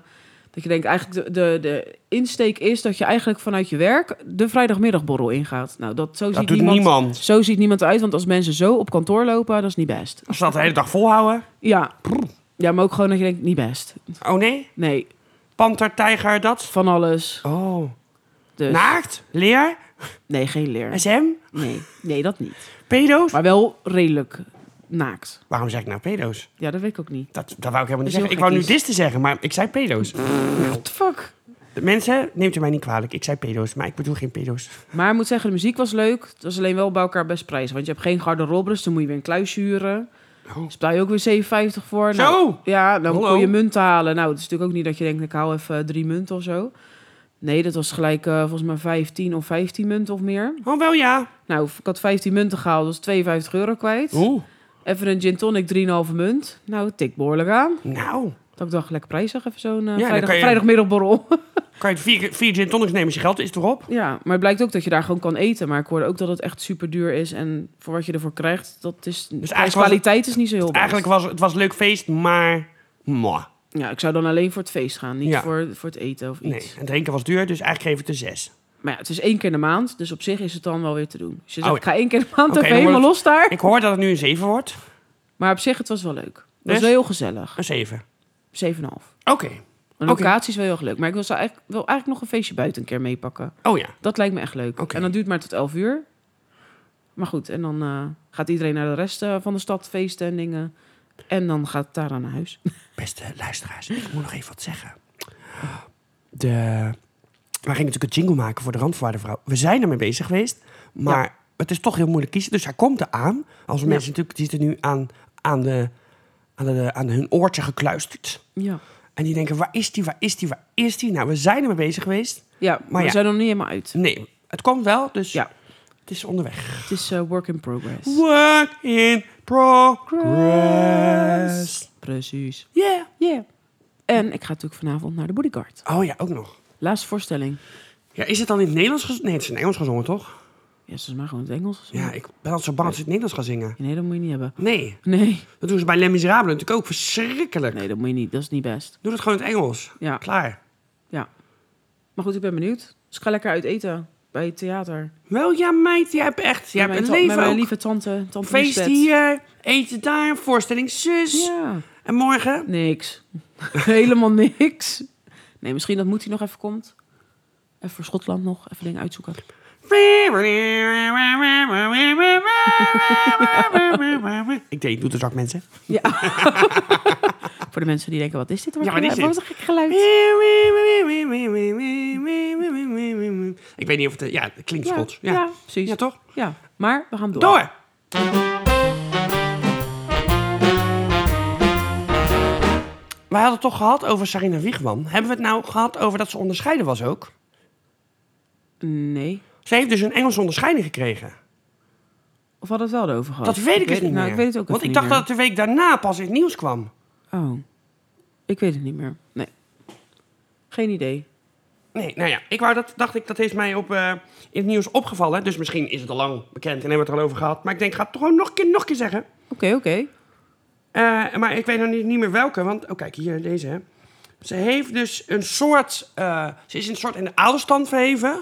Speaker 2: dat je denkt, eigenlijk de, de, de insteek is dat je eigenlijk vanuit je werk de vrijdagmiddagborrel ingaat. Nou, dat, zo,
Speaker 1: Dat
Speaker 2: ziet
Speaker 1: doet
Speaker 2: niemand,
Speaker 1: niemand.
Speaker 2: zo ziet niemand eruit, want als mensen zo op kantoor lopen, dat is niet best.
Speaker 1: Als ze dat de hele dag volhouden.
Speaker 2: Ja. ja, maar ook gewoon dat je denkt, niet best.
Speaker 1: Oh nee,
Speaker 2: Nee,
Speaker 1: panter, tijger, dat.
Speaker 2: van alles.
Speaker 1: Oh.
Speaker 2: Dus.
Speaker 1: Naakt, leer,
Speaker 2: Nee, geen leer.
Speaker 1: SM,
Speaker 2: Nee, nee, dat niet.
Speaker 1: pedo's.
Speaker 2: Maar wel redelijk naakt.
Speaker 1: Waarom zeg ik nou pedo's?
Speaker 2: Ja, dat weet ik ook niet.
Speaker 1: Dat, dat wou ik helemaal niet
Speaker 2: Dat is
Speaker 1: zeggen. Dus Ik
Speaker 2: heel
Speaker 1: wou nu
Speaker 2: gekkies.
Speaker 1: dis te zeggen, maar ik zei pedo's.
Speaker 2: What the fuck?
Speaker 1: De mensen, neemt u mij niet kwalijk. Ik zei pedo's, maar ik bedoel geen pedo's.
Speaker 2: Maar ik moet zeggen, de muziek was leuk. Het was alleen wel bij elkaar best prijzen. Want je hebt geen garderobe, dus dan moet je weer een kluis huren.
Speaker 1: Oh.
Speaker 2: Dus betaal je ook weer 7,50 voor.
Speaker 1: Zo!
Speaker 2: Nou, ja, dan
Speaker 1: Hallo.
Speaker 2: kon je munten halen. Nou, het is natuurlijk ook niet dat je denkt, ik haal even drie munten of zo. Nee, dat was gelijk eh, volgens mij 15 of 15 munten of meer.
Speaker 1: Oh, wel ja.
Speaker 2: Nou, ik had 15 munten gehaald, dat was 52 euro kwijt.
Speaker 1: Oeh.
Speaker 2: Even een gin tonic, 3,5 munt. Nou, het tikt behoorlijk aan.
Speaker 1: Nou,
Speaker 2: Dat ik dacht, lekker prijzig, even zo'n eh,
Speaker 1: dan
Speaker 2: vrijdag,
Speaker 1: kan je-
Speaker 2: vrijdagmiddagborrel. <laughs>
Speaker 1: kan je het vier, vier gin tonics nemen als je geld is erop?
Speaker 2: ja, maar het blijkt ook dat je daar gewoon kan eten. Maar ik hoorde ook dat het echt super duur is. En voor wat je ervoor krijgt, dat
Speaker 1: Dus
Speaker 2: is...
Speaker 1: eigenlijk
Speaker 2: de
Speaker 1: was
Speaker 2: kwaliteit is niet zo heel best.
Speaker 1: Eigenlijk was het was een leuk feest, maar... Mwah.
Speaker 2: Ja, ik zou dan alleen voor het feest gaan. Niet
Speaker 1: Ja.
Speaker 2: voor, voor het eten of
Speaker 1: Nee,
Speaker 2: iets.
Speaker 1: en drinken was duur, dus eigenlijk geef ik het een zes.
Speaker 2: Maar ja, het is één keer in de maand. Dus op zich is het dan wel weer te doen. Dus je
Speaker 1: Oh,
Speaker 2: zegt, ik ga één keer in de maand
Speaker 1: Oké,
Speaker 2: even
Speaker 1: dan
Speaker 2: helemaal
Speaker 1: wordt
Speaker 2: los daar.
Speaker 1: Ik hoor dat het nu een zeven wordt.
Speaker 2: Maar op zich, het was wel leuk. Het was
Speaker 1: Dus?
Speaker 2: wel heel gezellig. 7,5.
Speaker 1: Een zeven.
Speaker 2: En
Speaker 1: Oké.
Speaker 2: de
Speaker 1: Oké.
Speaker 2: locatie is wel heel erg leuk. Maar ik wil, zou eigenlijk, wil eigenlijk nog een feestje buiten een keer meepakken.
Speaker 1: Oh ja.
Speaker 2: Dat lijkt me echt leuk.
Speaker 1: Oké.
Speaker 2: En dat duurt maar tot 11 uur. Maar goed, en dan eh, gaat iedereen naar de rest eh, van de stad feesten en dingen. En dan gaat Tara naar huis.
Speaker 1: <laughs> Beste luisteraars, ik moet nog even wat zeggen. De... We gingen natuurlijk een jingle maken voor de Randvoorwaardenvrouw. We zijn ermee bezig geweest, maar het is toch heel moeilijk kiezen. Dus hij komt eraan. Als we
Speaker 2: Ja.
Speaker 1: mensen natuurlijk die zitten nu aan, aan, de, aan, de, aan hun oortje gekluisterd.
Speaker 2: Ja.
Speaker 1: En die denken, waar is die, waar is die, waar is die? Nou, we zijn ermee bezig geweest.
Speaker 2: Ja, maar we
Speaker 1: ja.
Speaker 2: zijn er nog niet helemaal uit.
Speaker 1: Nee, het komt wel, dus
Speaker 2: Ja.
Speaker 1: het is onderweg.
Speaker 2: Het is eh, work in progress.
Speaker 1: Work in progress.
Speaker 2: Precies.
Speaker 1: Yeah.
Speaker 2: Yeah. En ik ga natuurlijk vanavond naar de bodyguard.
Speaker 1: Oh ja, ook nog.
Speaker 2: Laatste voorstelling.
Speaker 1: Ja, is het dan in het Nederlands gezongen? Nee, het is in het Engels gezongen, toch?
Speaker 2: Ja, ze is maar gewoon in het Engels. of zo.
Speaker 1: Ja, ik ben altijd zo bang als ze het Nederlands gaan zingen.
Speaker 2: Nee, dat moet je niet hebben. <laughs>
Speaker 1: Nee,
Speaker 2: Nee.
Speaker 1: dat doen ze bij Les Miserables natuurlijk ook. Verschrikkelijk.
Speaker 2: Nee, dat moet je niet. Dat is niet best.
Speaker 1: Doe dat gewoon in het Engels.
Speaker 2: Ja.
Speaker 1: Klaar.
Speaker 2: Ja. Maar goed, ik ben benieuwd. Dus ik ga lekker uit eten bij het theater.
Speaker 1: Wel ja, meid, jij hebt echt... Jij
Speaker 2: Met
Speaker 1: hebt
Speaker 2: mijn
Speaker 1: een
Speaker 2: ta-
Speaker 1: leven
Speaker 2: Met mijn
Speaker 1: ook.
Speaker 2: lieve tante. tante
Speaker 1: Feest
Speaker 2: Lisbeth.
Speaker 1: hier, eten daar, voorstelling zus.
Speaker 2: Ja.
Speaker 1: En
Speaker 2: <laughs>
Speaker 1: morgen?
Speaker 2: Niks. Helemaal niks. Nee, misschien dat moet hij nog even komt. Even voor Schotland nog, even dingen uitzoeken.
Speaker 1: Ik deed, doe de zak mensen.
Speaker 2: Ja. voor de mensen die denken, wat is dit? Wordt
Speaker 1: Ja, wat is dit?
Speaker 2: Wordt een gek geluid.
Speaker 1: Ik weet niet of het... Ja, het klinkt
Speaker 2: Ja,
Speaker 1: Schots.
Speaker 2: ja, precies.
Speaker 1: Ja, toch?
Speaker 2: Ja, maar we gaan door.
Speaker 1: Door! We hadden het toch gehad over Sarina Wiegman. Hebben we het nou gehad over dat ze onderscheiden was ook?
Speaker 2: Nee.
Speaker 1: Ze heeft dus een Engelse onderscheiding gekregen.
Speaker 2: Of hadden we het wel over gehad?
Speaker 1: Dat weet ik dus niet
Speaker 2: nou,
Speaker 1: meer.
Speaker 2: Ik weet het ook
Speaker 1: Want
Speaker 2: even
Speaker 1: ik dacht
Speaker 2: niet
Speaker 1: dat het de week daarna pas in het nieuws kwam.
Speaker 2: meer. Oh. Ik weet het niet meer. Nee. Geen idee.
Speaker 1: Nee, nou ja, ik wou dat, dacht ik, dat is mij op, eh, in het nieuws opgevallen. Dus misschien is het al lang bekend en hebben we het er al over gehad. Maar ik denk, ik ga het toch gewoon nog een keer, nog een keer zeggen.
Speaker 2: Oké, oké.
Speaker 1: Eh, maar ik weet nog niet, niet meer welke, want... Oh, kijk, hier, deze, hè. Ze heeft dus een soort... eh, ze is een soort in de adelstand verheven.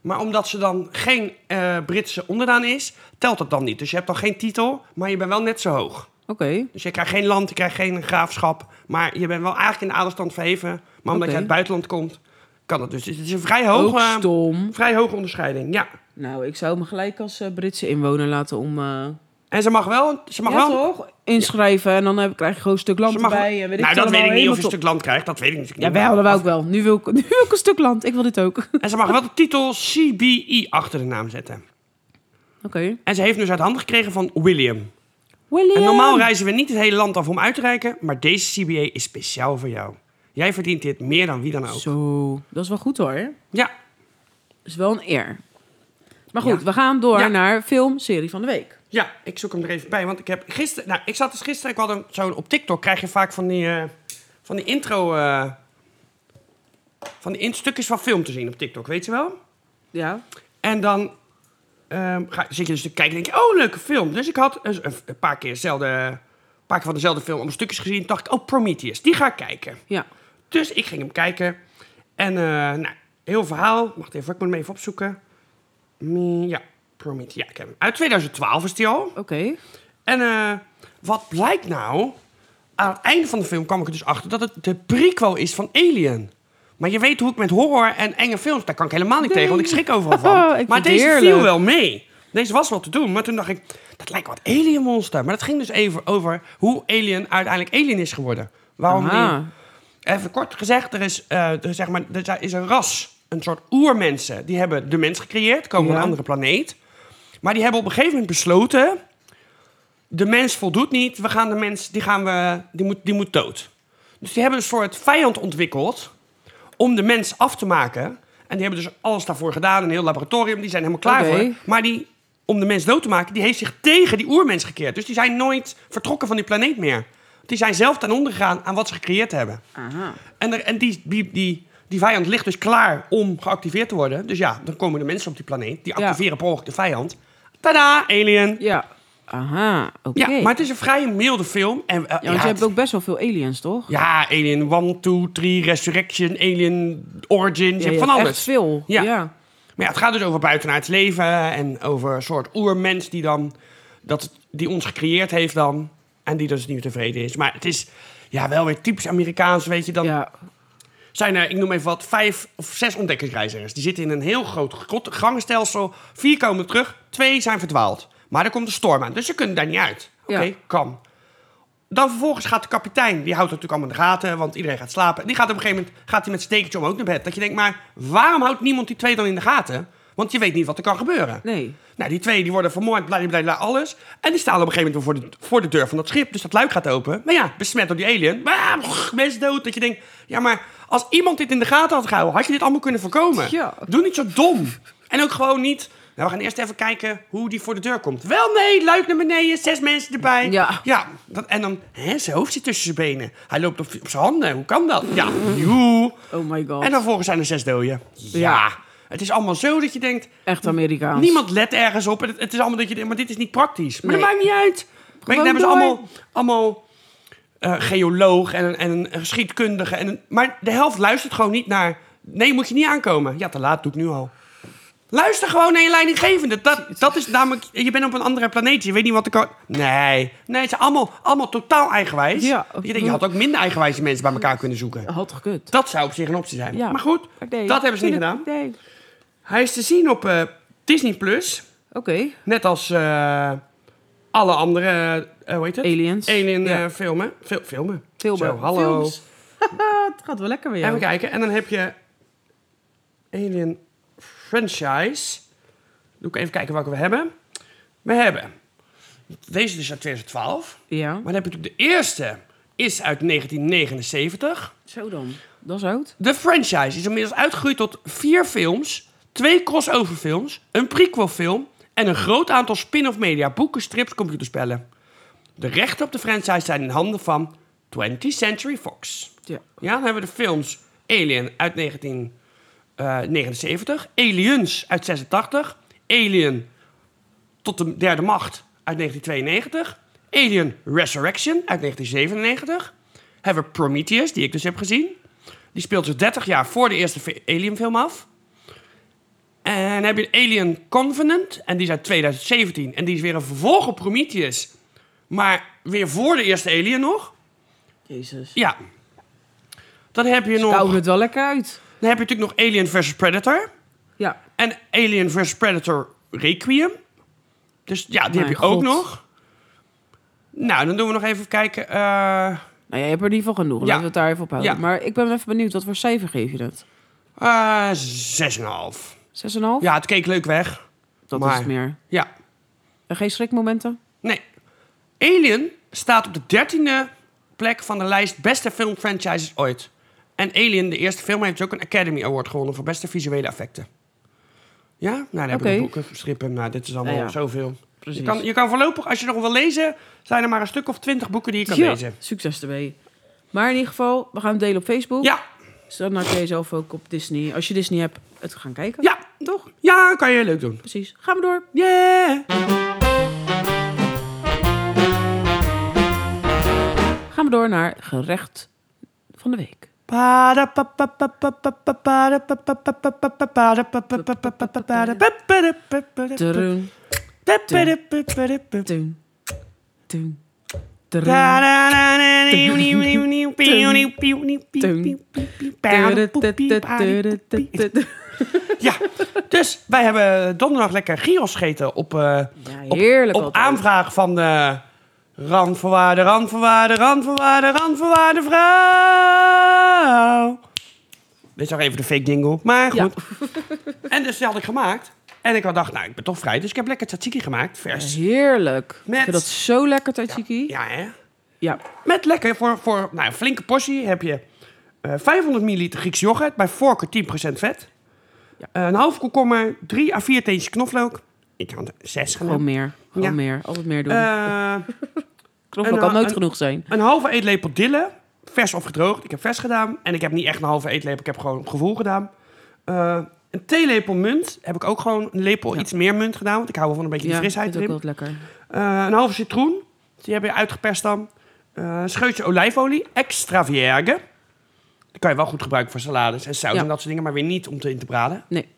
Speaker 1: Maar omdat ze dan geen eh, Britse onderdaan is, telt dat dan niet. Dus je hebt dan geen titel, maar je bent wel net zo hoog.
Speaker 2: Oké.
Speaker 1: Dus je krijgt geen land, je krijgt geen graafschap. Maar je bent wel eigenlijk in de adelstand verheven. Maar omdat
Speaker 2: Oké.
Speaker 1: je uit het buitenland komt, kan dat dus. Dus Het is een vrij hoge,
Speaker 2: Ook stom.
Speaker 1: vrij hoge onderscheiding, ja.
Speaker 2: Nou, ik zou me gelijk als eh, Britse inwoner laten om... eh,
Speaker 1: En ze mag wel... Ze mag
Speaker 2: ja,
Speaker 1: wel
Speaker 2: toch? Inschrijven en dan heb, krijg je gewoon een stuk land
Speaker 1: ze mag,
Speaker 2: erbij. En weet
Speaker 1: nou,
Speaker 2: ik
Speaker 1: dat weet ik niet of je een
Speaker 2: stuk
Speaker 1: stuk land krijgt. Dat weet ik natuurlijk
Speaker 2: Ja,
Speaker 1: niet.
Speaker 2: wel, dat wou ik wel. Nu wil ik, <laughs> nu wil ik een stuk land. Ik wil dit ook. <laughs> Oké.
Speaker 1: En ze mag wel de titel CBE achter de naam zetten. En ze heeft dus uit handen gekregen van William.
Speaker 2: William.
Speaker 1: En normaal reizen we niet het hele land af om uit te reiken, maar deze CBA is speciaal voor jou. Jij verdient dit meer dan wie dan ook.
Speaker 2: Zo, dat is wel goed hoor.
Speaker 1: Ja,
Speaker 2: Dat is wel een eer. Maar goed,
Speaker 1: Ja.
Speaker 2: we gaan door
Speaker 1: Ja.
Speaker 2: naar film, serie van de week.
Speaker 1: Ja, ik zoek hem er even bij. Want ik heb gisteren. Nou, ik zat dus gisteren. Ik had hem zo op TikTok. Krijg je vaak van die. eh, van die intro. eh, van die in stukjes van film te zien op TikTok, weet je wel?
Speaker 2: Ja.
Speaker 1: En dan. ehm, ga, zit je dus te kijken en denk je, oh, leuke film. Dus ik had een, een- een paar keer dezelfde. Een paar keer van dezelfde film om stukjes gezien. Dacht ik, oh, Prometheus, die ga ik kijken.
Speaker 2: Ja.
Speaker 1: Dus ik ging hem kijken. En eh, nou, heel verhaal. Wacht even, ik moet hem even opzoeken. Mm, Ja, Prometheus. Ja, ik heb hem. Uit 2012 is die al.
Speaker 2: Oké.
Speaker 1: En eh, wat blijkt nou? Aan het einde van de film kwam ik er dus achter dat het de prequel is van Alien. Maar je weet hoe ik met horror en enge films, daar kan ik helemaal niet tegen, want ik schrik overal
Speaker 2: <laughs>
Speaker 1: van.
Speaker 2: Oh, Ik
Speaker 1: maar
Speaker 2: vind het
Speaker 1: deze viel
Speaker 2: heerlijk.
Speaker 1: wel mee. Deze was wel te doen, maar toen dacht ik, dat lijkt wat Alien Monster. Maar dat ging dus even over hoe Alien uiteindelijk Alien is geworden. Waarom die
Speaker 2: Aha.
Speaker 1: Even kort gezegd, er is, eh, er, zeg maar, er is een ras, een soort oermensen. Die hebben de mens gecreëerd, komen van
Speaker 2: Ja.
Speaker 1: een andere planeet. Maar die hebben op een gegeven moment besloten... de mens voldoet niet, we gaan de mens, die, gaan we, die, moet, die moet dood. Dus die hebben een soort vijand ontwikkeld om de mens af te maken. En die hebben dus alles daarvoor gedaan, een heel laboratorium. Die zijn helemaal klaar
Speaker 2: Oké.
Speaker 1: voor. Maar die, om de mens dood te maken, die heeft zich tegen die oermens gekeerd. Dus die zijn nooit vertrokken van die planeet meer. Die zijn zelf ten onder gegaan aan wat ze gecreëerd hebben.
Speaker 2: Aha.
Speaker 1: En, er, en die, die, die, die vijand ligt dus klaar om geactiveerd te worden. Dus ja, dan komen de mensen op die planeet. Die
Speaker 2: Ja.
Speaker 1: activeren per ongeluk de vijand. Tada, alien.
Speaker 2: Ja. Aha. Oké.
Speaker 1: Ja, maar
Speaker 2: maar...
Speaker 1: het is een vrij milde film. En, eh, ja,
Speaker 2: want je
Speaker 1: het-
Speaker 2: hebt ook best wel veel aliens, toch?
Speaker 1: ja, Alien 1, 2, 3, Resurrection, Alien Origins. je
Speaker 2: Ja,
Speaker 1: hebt
Speaker 2: je
Speaker 1: van
Speaker 2: hebt
Speaker 1: alles.
Speaker 2: Echt veel.
Speaker 1: Ja.
Speaker 2: Ja.
Speaker 1: Maar ja, het gaat dus over buitenaards leven en over een soort oermens die dan dat, die ons gecreëerd heeft dan en die dus niet meer tevreden is. Maar het is ja wel weer typisch Amerikaans, weet je. Dan
Speaker 2: Ja.
Speaker 1: zijn er, ik noem even wat, vijf of zes ontdekkingsreizigers. Die zitten in een heel groot grot- gangenstelsel. Vier komen terug, twee zijn verdwaald. Maar er komt een storm aan, dus ze kunnen daar niet uit. Oké,
Speaker 2: Ja.
Speaker 1: kan. Dan vervolgens gaat de kapitein, die houdt het natuurlijk allemaal in de gaten, want iedereen gaat slapen. Die gaat op een gegeven moment gaat hij met zijn dekentje omhoog naar bed. Dat je denkt, maar waarom houdt niemand die twee dan in de gaten? Want je weet niet wat er kan gebeuren.
Speaker 2: Nee.
Speaker 1: Nou, die twee die worden vermoord, blablabla, alles. En die staan op een gegeven moment voor de, voor de deur van dat schip. Dus dat luik gaat open. Maar ja, besmet door die alien. Maar mensen dood. Dat je denkt, ja, maar als iemand dit in de gaten had gehouden, had je dit allemaal kunnen voorkomen.
Speaker 2: Ja.
Speaker 1: Doe niet zo dom. En ook gewoon niet. Nou, we gaan eerst even kijken hoe die voor de deur komt. Wel, nee, luik naar beneden, zes mensen erbij.
Speaker 2: Ja.
Speaker 1: Ja, dat, en dan, hè, zijn hoofd zit tussen zijn benen. Hij loopt op, op zijn handen, hoe kan dat? Ja, joe.
Speaker 2: Oh my god.
Speaker 1: En dan volgens zijn er zes doden. ja. Het is allemaal zo dat je denkt,
Speaker 2: Echt Amerikaans.
Speaker 1: Niemand let ergens op. En Het, het is allemaal dat je denkt, maar dit is niet praktisch. Maar dat
Speaker 2: Nee.
Speaker 1: maakt niet uit. Maar dan
Speaker 2: Gewoon
Speaker 1: hebben ze
Speaker 2: door.
Speaker 1: allemaal, allemaal eh, geoloog en, een- en een geschiedkundige. En een- maar de helft luistert gewoon niet naar... Nee, moet je niet aankomen. Ja, te laat, doe ik nu al. Luister gewoon naar je leidinggevende. Dat, dat is namelijk... Je bent op een andere planeet. Je weet niet wat er kan... Nee. Nee, het zijn allemaal, allemaal totaal eigenwijs.
Speaker 2: Ja.
Speaker 1: Je, denkt, je had ook minder eigenwijze mensen bij elkaar kunnen zoeken.
Speaker 2: Had gekund.
Speaker 1: Dat zou op zich een optie zijn.
Speaker 2: Ja.
Speaker 1: Maar goed,
Speaker 2: Nee.
Speaker 1: dat hebben ze niet gedaan.
Speaker 2: Nee.
Speaker 1: Hij is te zien op eh, Disney+. Plus.
Speaker 2: Oké.
Speaker 1: Net als eh, alle andere, eh, hoe heet het?
Speaker 2: Aliens.
Speaker 1: Alien
Speaker 2: Ja.
Speaker 1: eh, filmen. Fil- filmen.
Speaker 2: Filmen.
Speaker 1: Zo, hallo.
Speaker 2: Films. <laughs> het gaat wel lekker met jou.
Speaker 1: Even kijken. En dan heb je Alien Franchise. Doe ik even kijken welke we hebben. We hebben, deze is uit 2012.
Speaker 2: Ja.
Speaker 1: Maar dan heb je natuurlijk de eerste, is uit 1979.
Speaker 2: Zo dan. Dat is oud.
Speaker 1: De franchise is inmiddels uitgegroeid tot vier films, twee crossoverfilms, een prequelfilm en een groot aantal spin-off media, boeken, strips, computerspellen. De rechten op de franchise zijn in handen van 20th Century Fox.
Speaker 2: Ja.
Speaker 1: Ja, dan hebben we de films Alien uit 1979, Aliens uit 86, Alien tot de derde macht uit 1992, Alien Resurrection uit 1997, hebben we Prometheus, die ik dus heb gezien. Die speelt dus 30 jaar voor de eerste fi- Alien-film af. En dan heb je Alien Covenant, en die is uit 2017. En die is weer een vervolg op Prometheus, maar weer voor de eerste Alien nog.
Speaker 2: Jezus.
Speaker 1: Ja. Dan heb je nog...
Speaker 2: Koude het wel lekker uit.
Speaker 1: Dan heb je natuurlijk nog Alien vs. Predator.
Speaker 2: Ja.
Speaker 1: En Alien vs. Predator Requiem. Dus ja, die heb
Speaker 2: Mijn
Speaker 1: je ook
Speaker 2: god.
Speaker 1: nog. Nou, dan doen we nog even kijken. eh,
Speaker 2: Nou, jij hebt er in ieder geval genoeg.
Speaker 1: Ja.
Speaker 2: Laten we het daar even op houden.
Speaker 1: Ja.
Speaker 2: Maar ik ben even benieuwd. Wat voor cijfer geef je dat? 6,5?
Speaker 1: eh, 6,5. Ja, het keek leuk weg.
Speaker 2: Dat
Speaker 1: maar-
Speaker 2: is het meer.
Speaker 1: Ja.
Speaker 2: En geen schrikmomenten?
Speaker 1: Nee. Alien staat op de dertiende plek van de lijst beste filmfranchises ooit. En Alien, de eerste film, heeft ook een Academy Award gewonnen voor beste visuele effecten. Ja? Nou, dan heb
Speaker 2: Oké.
Speaker 1: ik boeken, strippen. Nou, dit is allemaal
Speaker 2: Nou ja,
Speaker 1: zoveel.
Speaker 2: Precies.
Speaker 1: Je kan, je kan voorlopig, als je nog wil lezen, zijn er maar een stuk of twintig boeken die je kan
Speaker 2: Ja,
Speaker 1: lezen.
Speaker 2: succes ermee. Maar in ieder geval, we gaan het delen op Facebook.
Speaker 1: Ja,
Speaker 2: Dus dan had jij zelf ook op Disney, als je Disney hebt, het gaan kijken.
Speaker 1: ja,
Speaker 2: Toch?
Speaker 1: ja, kan je leuk doen.
Speaker 2: Precies. Gaan we door.
Speaker 1: Yeah!
Speaker 2: Gaan we door naar gerecht van de week. Tudum, tudum, tudum, tudum, tudum, tudum, tudum.
Speaker 1: Ja, dus wij hebben donderdag lekker gyros gegeten op, eh,
Speaker 2: Ja,
Speaker 1: op,
Speaker 2: heerlijk
Speaker 1: op
Speaker 2: altijd.
Speaker 1: aanvraag van eh, de randvoorwaarde, randvoorwaarde, randvoorwaarde, randvoorwaarde vrouw. Dit is nog even de fake jingle, maar
Speaker 2: Ja.
Speaker 1: goed. En dus die had ik gemaakt. En ik had dacht, nou, ik ben toch vrij, dus ik heb lekker tzatziki gemaakt, vers.
Speaker 2: Heerlijk.
Speaker 1: Met-
Speaker 2: Ik vind dat zo lekker, Taitsiki.
Speaker 1: Ja,
Speaker 2: Ja.
Speaker 1: hè?
Speaker 2: Ja.
Speaker 1: Met lekker voor, voor nou, een flinke portie heb je eh, 500 milliliter Grieks yoghurt, bij voorkeur 10% vet.
Speaker 2: Ja.
Speaker 1: Eh, een half komkommer, 3 à 4 teentjes knoflook. Ik had 6
Speaker 2: Gewoon
Speaker 1: genomen.
Speaker 2: meer. Gewoon
Speaker 1: Ja.
Speaker 2: meer. Altijd meer doen.
Speaker 1: Eh,
Speaker 2: Knoflook
Speaker 1: en,
Speaker 2: kan
Speaker 1: eh,
Speaker 2: nooit
Speaker 1: en-
Speaker 2: genoeg zijn.
Speaker 1: een halve eetlepel dille, vers of gedroogd. Ik heb vers gedaan en ik heb niet echt een halve eetlepel, ik heb gewoon op gevoel gedaan. Eh, een theelepel munt heb ik ook gewoon een lepel
Speaker 2: Ja.
Speaker 1: iets meer munt gedaan, want ik hou wel van een beetje die frisheid
Speaker 2: vind ik ook
Speaker 1: erin.
Speaker 2: wel lekker.
Speaker 1: Eh, een halve citroen. Die heb je uitgeperst dan. Eh, een scheutje olijfolie. Extra vierge. Die kan je wel goed gebruiken voor salades en saus
Speaker 2: Ja.
Speaker 1: en dat soort dingen. Maar weer niet om te in te braden.
Speaker 2: Nee.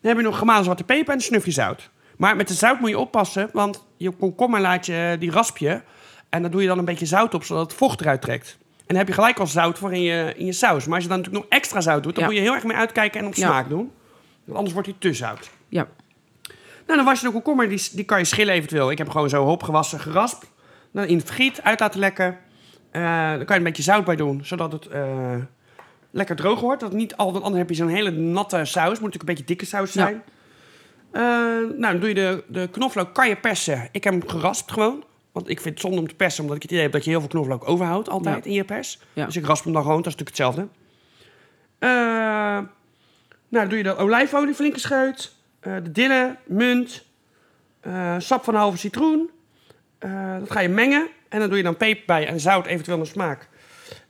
Speaker 1: Dan heb je nog gemalen zwarte peper en een snufje zout. Maar met de zout moet je oppassen. Want je komkommer laat je eh, die raspje. En daar doe je dan een beetje zout op, zodat het vocht eruit trekt. En dan heb je gelijk al zout voor in je, in je saus. Maar als je dan natuurlijk nog extra zout doet... dan
Speaker 2: Ja.
Speaker 1: moet je heel erg mee uitkijken en op
Speaker 2: Ja.
Speaker 1: smaak doen. Want anders wordt hij te zout.
Speaker 2: Ja.
Speaker 1: Nou, dan was je de komkommer, die, die kan je schillen eventueel. Ik heb hem gewoon zo hop gewassen, geraspt. Dan in het friet, uit laten lekken. Eh, dan kan je een beetje zout bij doen, zodat het eh, lekker droog wordt. Dat het niet al, want anders heb je zo'n hele natte saus. Moet natuurlijk een beetje dikke saus zijn. Eh, nou, dan doe je de, de knoflook, kan je persen. Ik heb hem geraspt gewoon. Want ik vind het zonde om te persen, omdat ik het idee heb dat je heel veel knoflook overhoudt altijd
Speaker 2: Ja.
Speaker 1: in je pers.
Speaker 2: Ja.
Speaker 1: Dus ik rasp hem dan gewoon, dat is natuurlijk hetzelfde. Eh, nou, doe je de olijfolie flinke scheut. eh, de dille, munt. eh, sap van een halve citroen. Eh, dat ga je mengen. En dan doe je dan peper bij en zout eventueel naar smaak.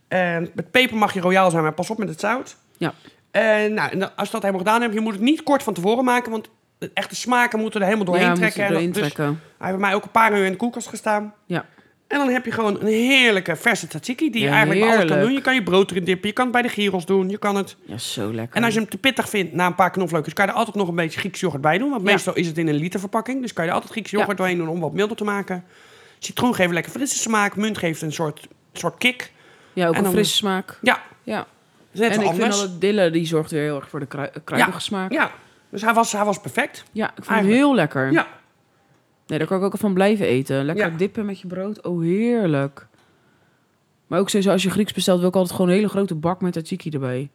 Speaker 1: En met peper mag je royaal zijn, maar pas op met het zout.
Speaker 2: Ja.
Speaker 1: En, nou, en dan- als je dat helemaal gedaan hebt, je moet het niet kort van tevoren maken. Want de echte smaken moeten er helemaal doorheen
Speaker 2: ja,
Speaker 1: trekken.
Speaker 2: Moet je
Speaker 1: En
Speaker 2: doorheen
Speaker 1: dat- dus
Speaker 2: trekken.
Speaker 1: hij heeft bij mij ook een paar uur in de koelkast gestaan.
Speaker 2: Ja.
Speaker 1: En dan heb je gewoon een heerlijke verse tzatziki die je
Speaker 2: Ja,
Speaker 1: eigenlijk bij alles kan
Speaker 2: heerlijk.
Speaker 1: doen. Je kan je brood erin dippen, je kan het bij de gyros doen, je kan het...
Speaker 2: Ja, zo lekker.
Speaker 1: En als je hem te pittig vindt na een paar knoflookjes, kan je er altijd nog een beetje Grieks yoghurt bij doen. Want
Speaker 2: Ja.
Speaker 1: meestal is het in een liter verpakking, dus kan je er altijd Grieks yoghurt doorheen doen om wat milder te maken. Citroen geeft lekker frisse smaak, munt geeft een soort, soort kick.
Speaker 2: Ja, ook
Speaker 1: en
Speaker 2: een
Speaker 1: dan-
Speaker 2: frisse smaak.
Speaker 1: Ja,
Speaker 2: Ja.
Speaker 1: is net
Speaker 2: en ik
Speaker 1: wel
Speaker 2: vind
Speaker 1: anders.
Speaker 2: al het dille, die zorgt weer heel erg voor de krui- kruidige smaak. Ja,
Speaker 1: Ja, dus hij was, hij was perfect.
Speaker 2: ik vond
Speaker 1: Eigenlijk.
Speaker 2: hem heel lekker.
Speaker 1: Ja.
Speaker 2: Nee, daar kan ik ook van blijven eten. Lekker
Speaker 1: Ja.
Speaker 2: dippen met je brood. Oh, heerlijk. Maar ook sowieso, als je Grieks bestelt, wil ik altijd gewoon een hele grote bak met tzatziki erbij.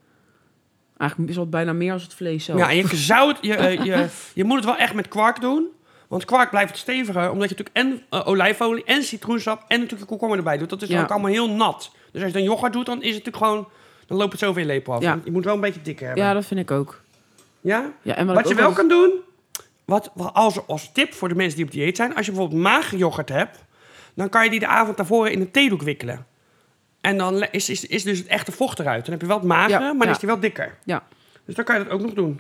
Speaker 2: Eigenlijk is dat bijna meer als het vlees zelf.
Speaker 1: Ja, en je zout, je, eh,
Speaker 2: <laughs>
Speaker 1: je, je moet het wel echt met kwark doen. Want kwark blijft het steviger, omdat je natuurlijk en eh, olijfolie en citroensap en natuurlijk komkommer erbij doet. Dat is dan
Speaker 2: Ja.
Speaker 1: ook allemaal heel nat. Dus als je dan yoghurt doet, dan is het natuurlijk gewoon, dan loopt het zo weer lepel af.
Speaker 2: Ja.
Speaker 1: Je moet wel een beetje dikker hebben.
Speaker 2: Ja,
Speaker 1: Ja?
Speaker 2: dat vind ik ook. Ja, en wat
Speaker 1: Wat
Speaker 2: ik
Speaker 1: je
Speaker 2: ook
Speaker 1: wel
Speaker 2: altijd-
Speaker 1: kan doen, wat, wat als, als tip voor de mensen die op dieet zijn, als je bijvoorbeeld mager yoghurt hebt, dan kan je die de avond daarvoor in een theedoek wikkelen. En dan le- is, is, is dus het echte vocht eruit. Dan heb je wel het magere,
Speaker 2: Ja,
Speaker 1: maar dan
Speaker 2: ja.
Speaker 1: is die wel dikker.
Speaker 2: Ja.
Speaker 1: Dus dan kan je dat ook nog doen.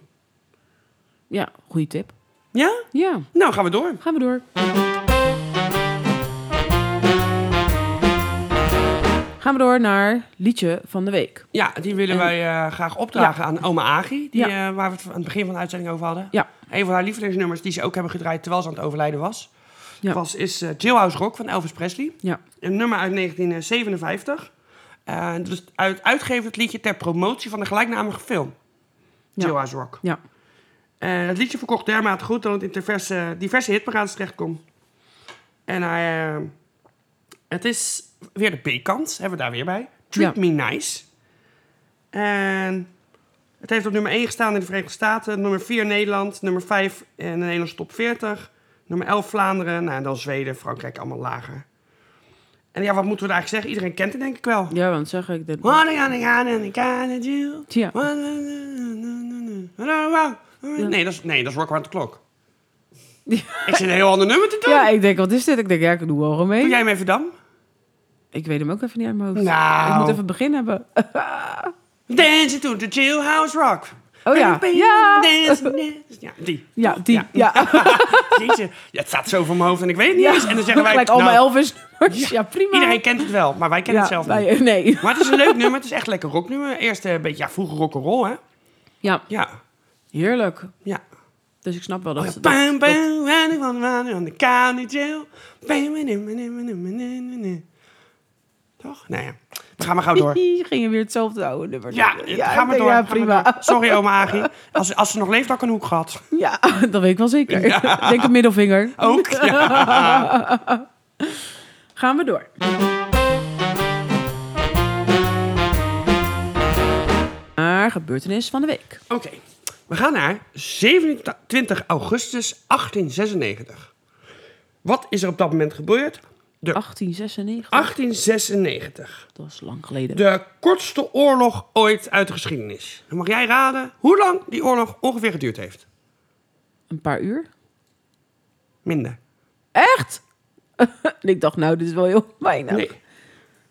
Speaker 2: Ja, goede tip.
Speaker 1: Ja?
Speaker 2: Ja,
Speaker 1: Nou, gaan we door.
Speaker 2: gaan we door. Gaan we door naar liedje van de week.
Speaker 1: Ja, die willen
Speaker 2: En-
Speaker 1: wij eh, graag opdragen aan oma Agi, die,
Speaker 2: Ja.
Speaker 1: eh, waar we het aan het begin van de uitzending over hadden.
Speaker 2: Ja.
Speaker 1: Een van haar lievelingsnummers die ze ook hebben gedraaid terwijl ze aan het overlijden was,
Speaker 2: Ja.
Speaker 1: was is eh, Jailhouse Rock van Elvis Presley.
Speaker 2: Ja.
Speaker 1: Een nummer uit 1957. Eh, dus uit, uitgeven het liedje ter promotie van de gelijknamige film.
Speaker 2: Ja.
Speaker 1: Jailhouse Rock.
Speaker 2: Ja.
Speaker 1: En Eh, het liedje verkocht dermate goed dat het in diverse, diverse hitparades terechtkomt. En hij, eh, het is weer de B-kant, hebben we daar weer bij. Treat
Speaker 2: Ja.
Speaker 1: Me Nice. En het heeft op nummer 1 gestaan in de Verenigde Staten, nummer 4 Nederland, nummer 5 in de Nederlandse top 40, nummer 11 Vlaanderen, nou, en dan Zweden, Frankrijk, allemaal lager. En ja, wat moeten we er eigenlijk zeggen? Iedereen kent het denk ik wel.
Speaker 2: Ja, want zeg ik dit.
Speaker 1: What I gonna, gonna, gonna do?
Speaker 2: Ja.
Speaker 1: What I gonna do? Eh,
Speaker 2: Ja.
Speaker 1: Nee, dat is, nee, dat is Rock Around the Clock.
Speaker 2: Ja.
Speaker 1: Ik zit een heel ander nummer te doen.
Speaker 2: Ja, ik denk, wat is dit? Ik denk, ja, ik doe wel gewoon mee.
Speaker 1: Doe jij hem even dan?
Speaker 2: Ik weet hem ook even niet uit mijn hoofd.
Speaker 1: Nou.
Speaker 2: Ik moet even het begin hebben. <laughs>
Speaker 1: Dancing to the Jailhouse Rock.
Speaker 2: Oh ja.
Speaker 1: Baby,
Speaker 2: Ja.
Speaker 1: dance, dance. Ja, die.
Speaker 2: Ja, die.
Speaker 1: Ja.
Speaker 2: Ja.
Speaker 1: Jeetje. Ja, het staat zo voor mijn hoofd en ik weet het niet
Speaker 2: <laughs> Ja.
Speaker 1: eens. En dan zeggen wij,
Speaker 2: Gelijk allemaal
Speaker 1: nou,
Speaker 2: Elvis nummers. <laughs> Ja, prima.
Speaker 1: iedereen kent het wel, maar wij kennen
Speaker 2: ja,
Speaker 1: het zelf niet.
Speaker 2: wij- Nee.
Speaker 1: Maar het is een leuk nummer. Het is echt lekker rocknummer. Eerst eh, een beetje, ja, vroeger rock'n'roll, hè?
Speaker 2: Ja,
Speaker 1: Ja,
Speaker 2: heerlijk.
Speaker 1: ja.
Speaker 2: Dus ik snap wel dat... dat-
Speaker 1: Oh Bam,
Speaker 2: dat-
Speaker 1: bam, running on, running on the county jail. Bam, bam, bam, bam, bam, bam, bam. Toch? Nou ja, we gaan maar gauw
Speaker 2: <laughs>
Speaker 1: door.
Speaker 2: Ging je weer hetzelfde oude nummer
Speaker 1: Ja,
Speaker 2: doen.
Speaker 1: ga maar
Speaker 2: ik denk,
Speaker 1: door.
Speaker 2: Ja,
Speaker 1: ga maar door.
Speaker 2: prima.
Speaker 1: Sorry, oma Agi. Als, als ze nog leeft, had ik een hoek gehad.
Speaker 2: <laughs> Ja, <laughs> dat weet ik wel zeker. <laughs> Denk een middelvinger.
Speaker 1: Ook?
Speaker 2: <laughs>
Speaker 1: Ja.
Speaker 2: Gaan we door. Naar gebeurtenis van de week.
Speaker 1: Oké, we gaan naar 27 augustus 1896. Wat is er op dat moment gebeurd?
Speaker 2: 1896.
Speaker 1: 1896.
Speaker 2: Dat was lang geleden.
Speaker 1: De kortste oorlog ooit uit de geschiedenis. Dan mag jij raden hoe lang die oorlog ongeveer geduurd heeft.
Speaker 2: Een paar uur.
Speaker 1: Minder.
Speaker 2: Echt? <laughs> En ik dacht, nou, dit is wel heel <laughs> weinig.
Speaker 1: Nee.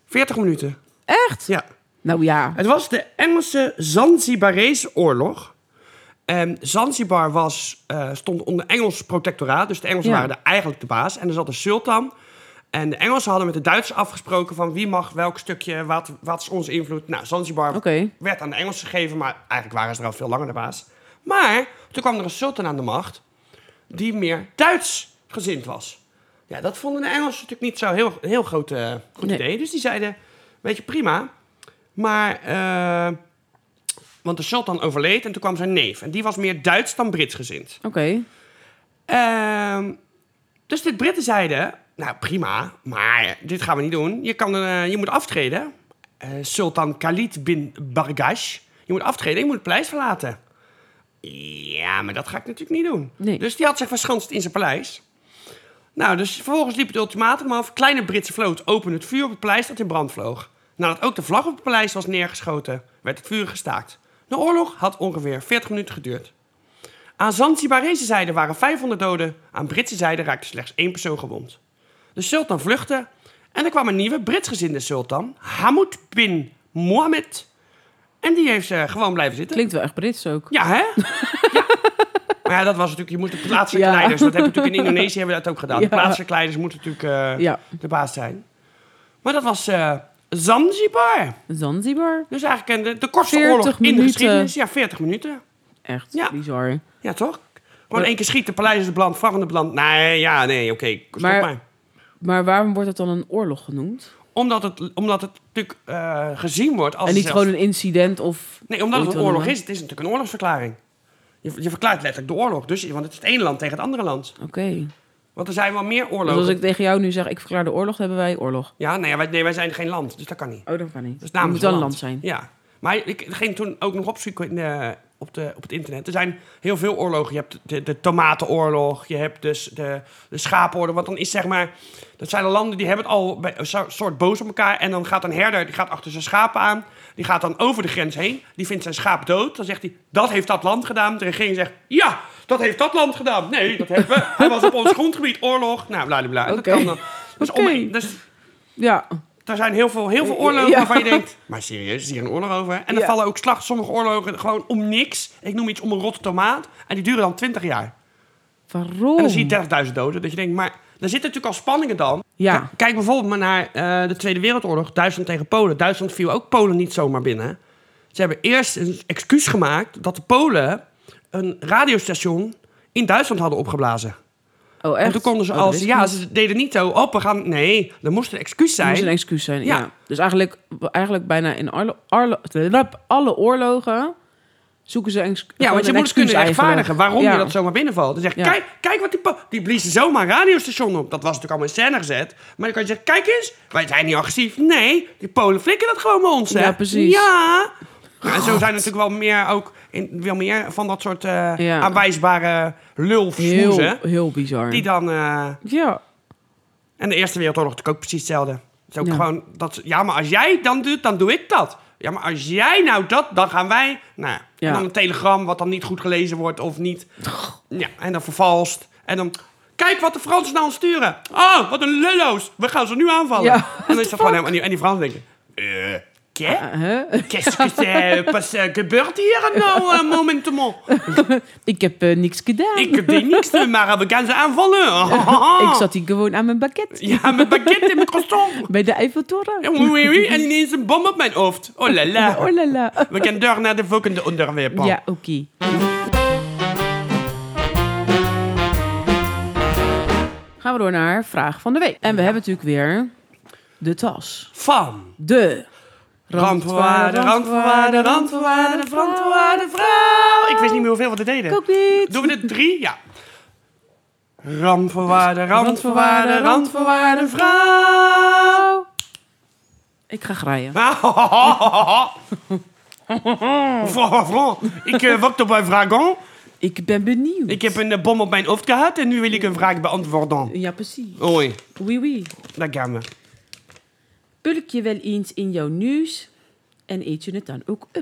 Speaker 1: 40 Nou, minuten.
Speaker 2: Echt?
Speaker 1: Ja.
Speaker 2: Nou ja.
Speaker 1: Het was de Engelse Zanzibarese oorlog. En Zanzibar was, eh, stond onder Engels protectoraat. Dus de Engelsen
Speaker 2: Ja.
Speaker 1: waren de- eigenlijk de baas. En er zat een sultan. En de Engelsen hadden met de Duitsers afgesproken van wie mag welk stukje, wat, wat is onze invloed. Nou, Zanzibar
Speaker 2: Oké.
Speaker 1: werd aan de Engelsen gegeven, maar eigenlijk waren ze er al veel langer de baas. Maar toen kwam er een sultan aan de macht die meer Duits gezind was. Ja, dat vonden de Engelsen natuurlijk niet zo heel, een heel groot, eh, goed
Speaker 2: Nee.
Speaker 1: idee. Dus die zeiden, weet je, prima. Maar, eh, want de sultan overleed en toen kwam zijn neef. En die was meer Duits dan Brits gezind.
Speaker 2: Oké.
Speaker 1: Ehm, dus de Britten zeiden, nou prima, maar dit gaan we niet doen. Je, kan, eh, je moet aftreden. Eh, Sultan Khalid bin Bargash. Je moet aftreden, je moet het paleis verlaten. Ja, maar dat ga ik natuurlijk niet doen.
Speaker 2: Nee.
Speaker 1: Dus die had zich verschanst in zijn paleis. Nou, dus vervolgens liep het ultimatum af. Kleine Britse vloot opende het vuur op het paleis dat in brand vloog. Nadat ook de vlag op het paleis was neergeschoten, werd het vuur gestaakt. De oorlog had ongeveer 40 minuten geduurd. Aan Zanzibarese zijde waren 500 doden, aan Britse zijde raakte slechts één persoon gewond. De sultan vluchtte en er kwam een nieuwe Britsgezinde sultan, Hamoud bin Mohammed. En die heeft eh, gewoon blijven zitten.
Speaker 2: Klinkt wel echt Brits ook.
Speaker 1: Ja, hè?
Speaker 2: <laughs>
Speaker 1: ja. Maar ja, dat was natuurlijk, je moet de plaatselijke
Speaker 2: Ja.
Speaker 1: leiders, dat hebben we natuurlijk in Indonesië hebben we dat ook gedaan. De
Speaker 2: Ja.
Speaker 1: plaatselijke leiders moeten natuurlijk eh,
Speaker 2: Ja.
Speaker 1: de baas zijn. Maar dat was eh, Zanzibar.
Speaker 2: Zanzibar.
Speaker 1: Dus eigenlijk een- de, de kortste
Speaker 2: 40
Speaker 1: oorlog in de
Speaker 2: minuten.
Speaker 1: geschiedenis. Ja, 40 minuten.
Speaker 2: Echt
Speaker 1: Ja.
Speaker 2: bizar.
Speaker 1: Ja, toch? Gewoon
Speaker 2: Ja.
Speaker 1: één keer schieten, paleis is de brand, vlaggen de brand. Nee, ja, nee, oké, stop maar...
Speaker 2: Maar- Maar waarom wordt het dan een oorlog genoemd?
Speaker 1: Omdat het, omdat het natuurlijk eh, gezien wordt als...
Speaker 2: en niet
Speaker 1: zelfs-
Speaker 2: gewoon een incident of...
Speaker 1: Nee, omdat het een
Speaker 2: Hoe je het wil
Speaker 1: oorlog
Speaker 2: noemen.
Speaker 1: is. Het is natuurlijk een oorlogsverklaring. Je, je verklaart letterlijk de oorlog. Dus, want het is het ene land tegen het andere land.
Speaker 2: Oké.
Speaker 1: Want er zijn wel meer
Speaker 2: Dus
Speaker 1: oorlogen.
Speaker 2: als ik tegen jou nu zeg, ik verklaar de oorlog, dan hebben wij oorlog.
Speaker 1: Ja, nee, wij, nee, wij zijn geen land, dus dat kan niet.
Speaker 2: Oh, dat kan niet.
Speaker 1: Dus
Speaker 2: Het
Speaker 1: namens
Speaker 2: moet wel een
Speaker 1: een
Speaker 2: land zijn.
Speaker 1: Ja. Maar ik ging toen ook nog opzoeken in, eh, op, de, op het internet. Er zijn heel veel oorlogen. Je hebt de, de tomatenoorlog, je hebt dus de, de schapenoorlog. Want dan is zeg maar, dat zijn de landen die hebben het al bij, een so- soort boos op elkaar. En dan gaat een herder, die gaat achter zijn schapen aan. Die gaat dan over de grens heen. Die vindt zijn schaap dood. Dan zegt hij, dat heeft dat land gedaan. De regering zegt, ja, dat heeft dat land gedaan. Nee, dat hebben we. Hij was op ons grondgebied, oorlog. Nou, bla bla bla. Dat
Speaker 2: Oké.
Speaker 1: kan dan. Dus, om-
Speaker 2: Oké.
Speaker 1: dus
Speaker 2: Ja.
Speaker 1: er zijn heel veel, heel veel oorlogen
Speaker 2: Ja.
Speaker 1: waarvan je denkt... Maar serieus, is hier een oorlog over? En er
Speaker 2: Ja.
Speaker 1: vallen ook slag, sommige oorlogen gewoon om niks. Ik noem iets om een rotte tomaat. En die duren dan 20 jaar.
Speaker 2: Waarom?
Speaker 1: En dan zie je 30.000 doden. Dat je denkt, maar er zitten natuurlijk al spanningen dan.
Speaker 2: Ja.
Speaker 1: K- Kijk bijvoorbeeld maar naar eh, de Tweede Wereldoorlog. Duitsland tegen Polen. Duitsland viel ook Polen niet zomaar binnen. Ze hebben eerst een excuus gemaakt dat de Polen een radiostation in Duitsland hadden opgeblazen.
Speaker 2: Oh, echt?
Speaker 1: En toen konden ze
Speaker 2: Oh, dat
Speaker 1: als...
Speaker 2: wist ik
Speaker 1: Ja,
Speaker 2: niet.
Speaker 1: ze deden niet zo... Oh, we gaan... Nee, er moest een excuus
Speaker 2: Het
Speaker 1: zijn.
Speaker 2: moest een excuus zijn,
Speaker 1: Ja.
Speaker 2: ja. Dus eigenlijk, eigenlijk bijna in alle, alle, alle oorlogen zoeken ze ex-
Speaker 1: Ja,
Speaker 2: gewoon
Speaker 1: want je
Speaker 2: een
Speaker 1: moet het kunnen
Speaker 2: excuus
Speaker 1: rechtvaardigen
Speaker 2: eigenlijk.
Speaker 1: waarom
Speaker 2: Ja.
Speaker 1: je dat zomaar binnenvalt. Dan zeg je,
Speaker 2: Ja.
Speaker 1: kijk, kijk wat die... po- Die bliezen zomaar een radiostation op. Dat was natuurlijk allemaal in scène gezet. Maar dan kan je zeggen, kijk eens, wij zijn niet agressief. Nee, die Polen flikken dat gewoon bij ons, hè?
Speaker 2: Ja, precies.
Speaker 1: Ja. Nou, en zo zijn er natuurlijk wel meer, ook in, wel meer van dat soort eh,
Speaker 2: Ja.
Speaker 1: aanwijsbare lulfsmoezen.
Speaker 2: Heel, heel bizar.
Speaker 1: Die dan... eh,
Speaker 2: Ja,
Speaker 1: en de Eerste Wereldoorlog natuurlijk ook precies hetzelfde. Het is ook
Speaker 2: Ja.
Speaker 1: gewoon dat, ze- ja, maar als jij dan doet, dan doe ik dat. Ja, maar als jij nou dat, dan gaan wij... Nou, ja.
Speaker 2: Ja.
Speaker 1: en dan een telegram wat dan niet goed gelezen wordt of niet... Ja, en dan vervalst. En dan... Kijk wat de Fransen nou ons sturen. Oh, wat een lullo's. We gaan ze nu aanvallen.
Speaker 2: Ja,
Speaker 1: en dan is dat gewoon helemaal... En die, en die Fransen denken... Eh, ké?
Speaker 2: <laughs> Eh, hè?
Speaker 1: Qu'est-ce que c'est? Pas, eh, gebeurt hier nou
Speaker 2: <laughs>
Speaker 1: eh, momentement?
Speaker 2: Ik heb eh, niks gedaan.
Speaker 1: Ik deed niks, maar we gaan ze aanvallen.
Speaker 2: <laughs> Ik zat hier gewoon aan mijn bakket.
Speaker 1: Ja, mijn baguette en mijn croissant.
Speaker 2: Bij de Eiffeltoren.
Speaker 1: Ja, oei, oei, oei, En ineens een bom op mijn hoofd. Oh la la.
Speaker 2: <laughs> Oh la la.
Speaker 1: We gaan door naar de volgende onderwerp. Paul.
Speaker 2: Ja, oké. Gaan we door naar vraag van de week. En we hebben natuurlijk weer de tas.
Speaker 1: Van.
Speaker 2: De
Speaker 1: Randvoorwaarden, randvoorwaarden, randvoorwaarden, randvoorwaarden, vrouw. Ik wist niet meer hoeveel we er
Speaker 2: Ik
Speaker 1: deden.
Speaker 2: ook niet.
Speaker 1: Doen we er drie? Ja. Randvoorwaarden, randvoorwaarden, randvoorwaarden, vrouw.
Speaker 2: Ik ga graaien.
Speaker 1: <laughs> Vrouw, vrouw. Ik eh, wacht op mijn vragen.
Speaker 2: Ik ben benieuwd.
Speaker 1: Ik heb een eh, bom op mijn hoofd gehad en nu wil ik een vraag beantwoorden.
Speaker 2: Ja, precies.
Speaker 1: Oei,
Speaker 2: Oui, oui.
Speaker 1: daar gaan we.
Speaker 2: Pulk je wel eens in jouw neus en eet je het dan ook op?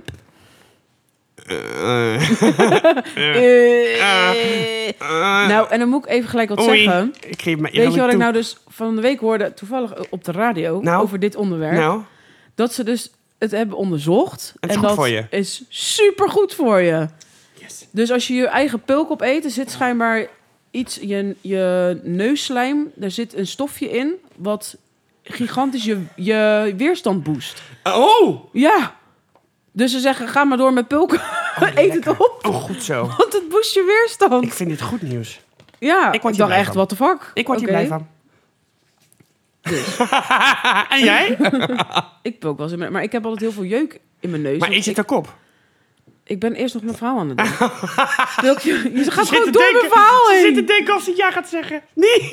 Speaker 1: Eh,
Speaker 2: Eh.
Speaker 1: eh,
Speaker 2: Nou, en dan moet ik even gelijk wat
Speaker 1: oei.
Speaker 2: zeggen.
Speaker 1: Ik geef me
Speaker 2: Weet je wat ik nou dus van de week hoorde, toevallig op de radio,
Speaker 1: Nou?
Speaker 2: over dit onderwerp?
Speaker 1: Nou,
Speaker 2: Dat ze dus het hebben onderzocht.
Speaker 1: Het is
Speaker 2: en
Speaker 1: goed
Speaker 2: dat
Speaker 1: voor je.
Speaker 2: is supergoed voor je.
Speaker 1: yes.
Speaker 2: Dus als je je eigen pulk opeet, er zit schijnbaar iets, je, je neusslijm, daar zit een stofje in wat gigantisch je, je weerstand boost.
Speaker 1: Oh,
Speaker 2: Ja. Dus ze zeggen, ga maar door met pulken. <laughs> Eet het
Speaker 1: lekker.
Speaker 2: op,
Speaker 1: oh, goed zo.
Speaker 2: want het boost je weerstand.
Speaker 1: Ik vind dit goed nieuws.
Speaker 2: ja,
Speaker 1: ik word hier
Speaker 2: dacht
Speaker 1: blij
Speaker 2: echt,
Speaker 1: van.
Speaker 2: wat de fuck.
Speaker 1: Ik word hier
Speaker 2: Oké. Dus.
Speaker 1: blij van. <laughs> en
Speaker 2: <laughs>
Speaker 1: jij?
Speaker 2: Ik pulk wel eens in mijn... Maar ik heb altijd heel veel jeuk in mijn neus.
Speaker 1: Maar
Speaker 2: want
Speaker 1: is het
Speaker 2: ik,
Speaker 1: een kop?
Speaker 2: ik ben eerst nog mijn verhaal aan
Speaker 1: <laughs>
Speaker 2: het doen. Pulk je... Je gaat
Speaker 1: Ze
Speaker 2: gewoon
Speaker 1: zit
Speaker 2: door
Speaker 1: te denken-
Speaker 2: mijn verhaal
Speaker 1: Ze
Speaker 2: heen.
Speaker 1: zit te denken of ze ja gaat zeggen. <laughs> Nee.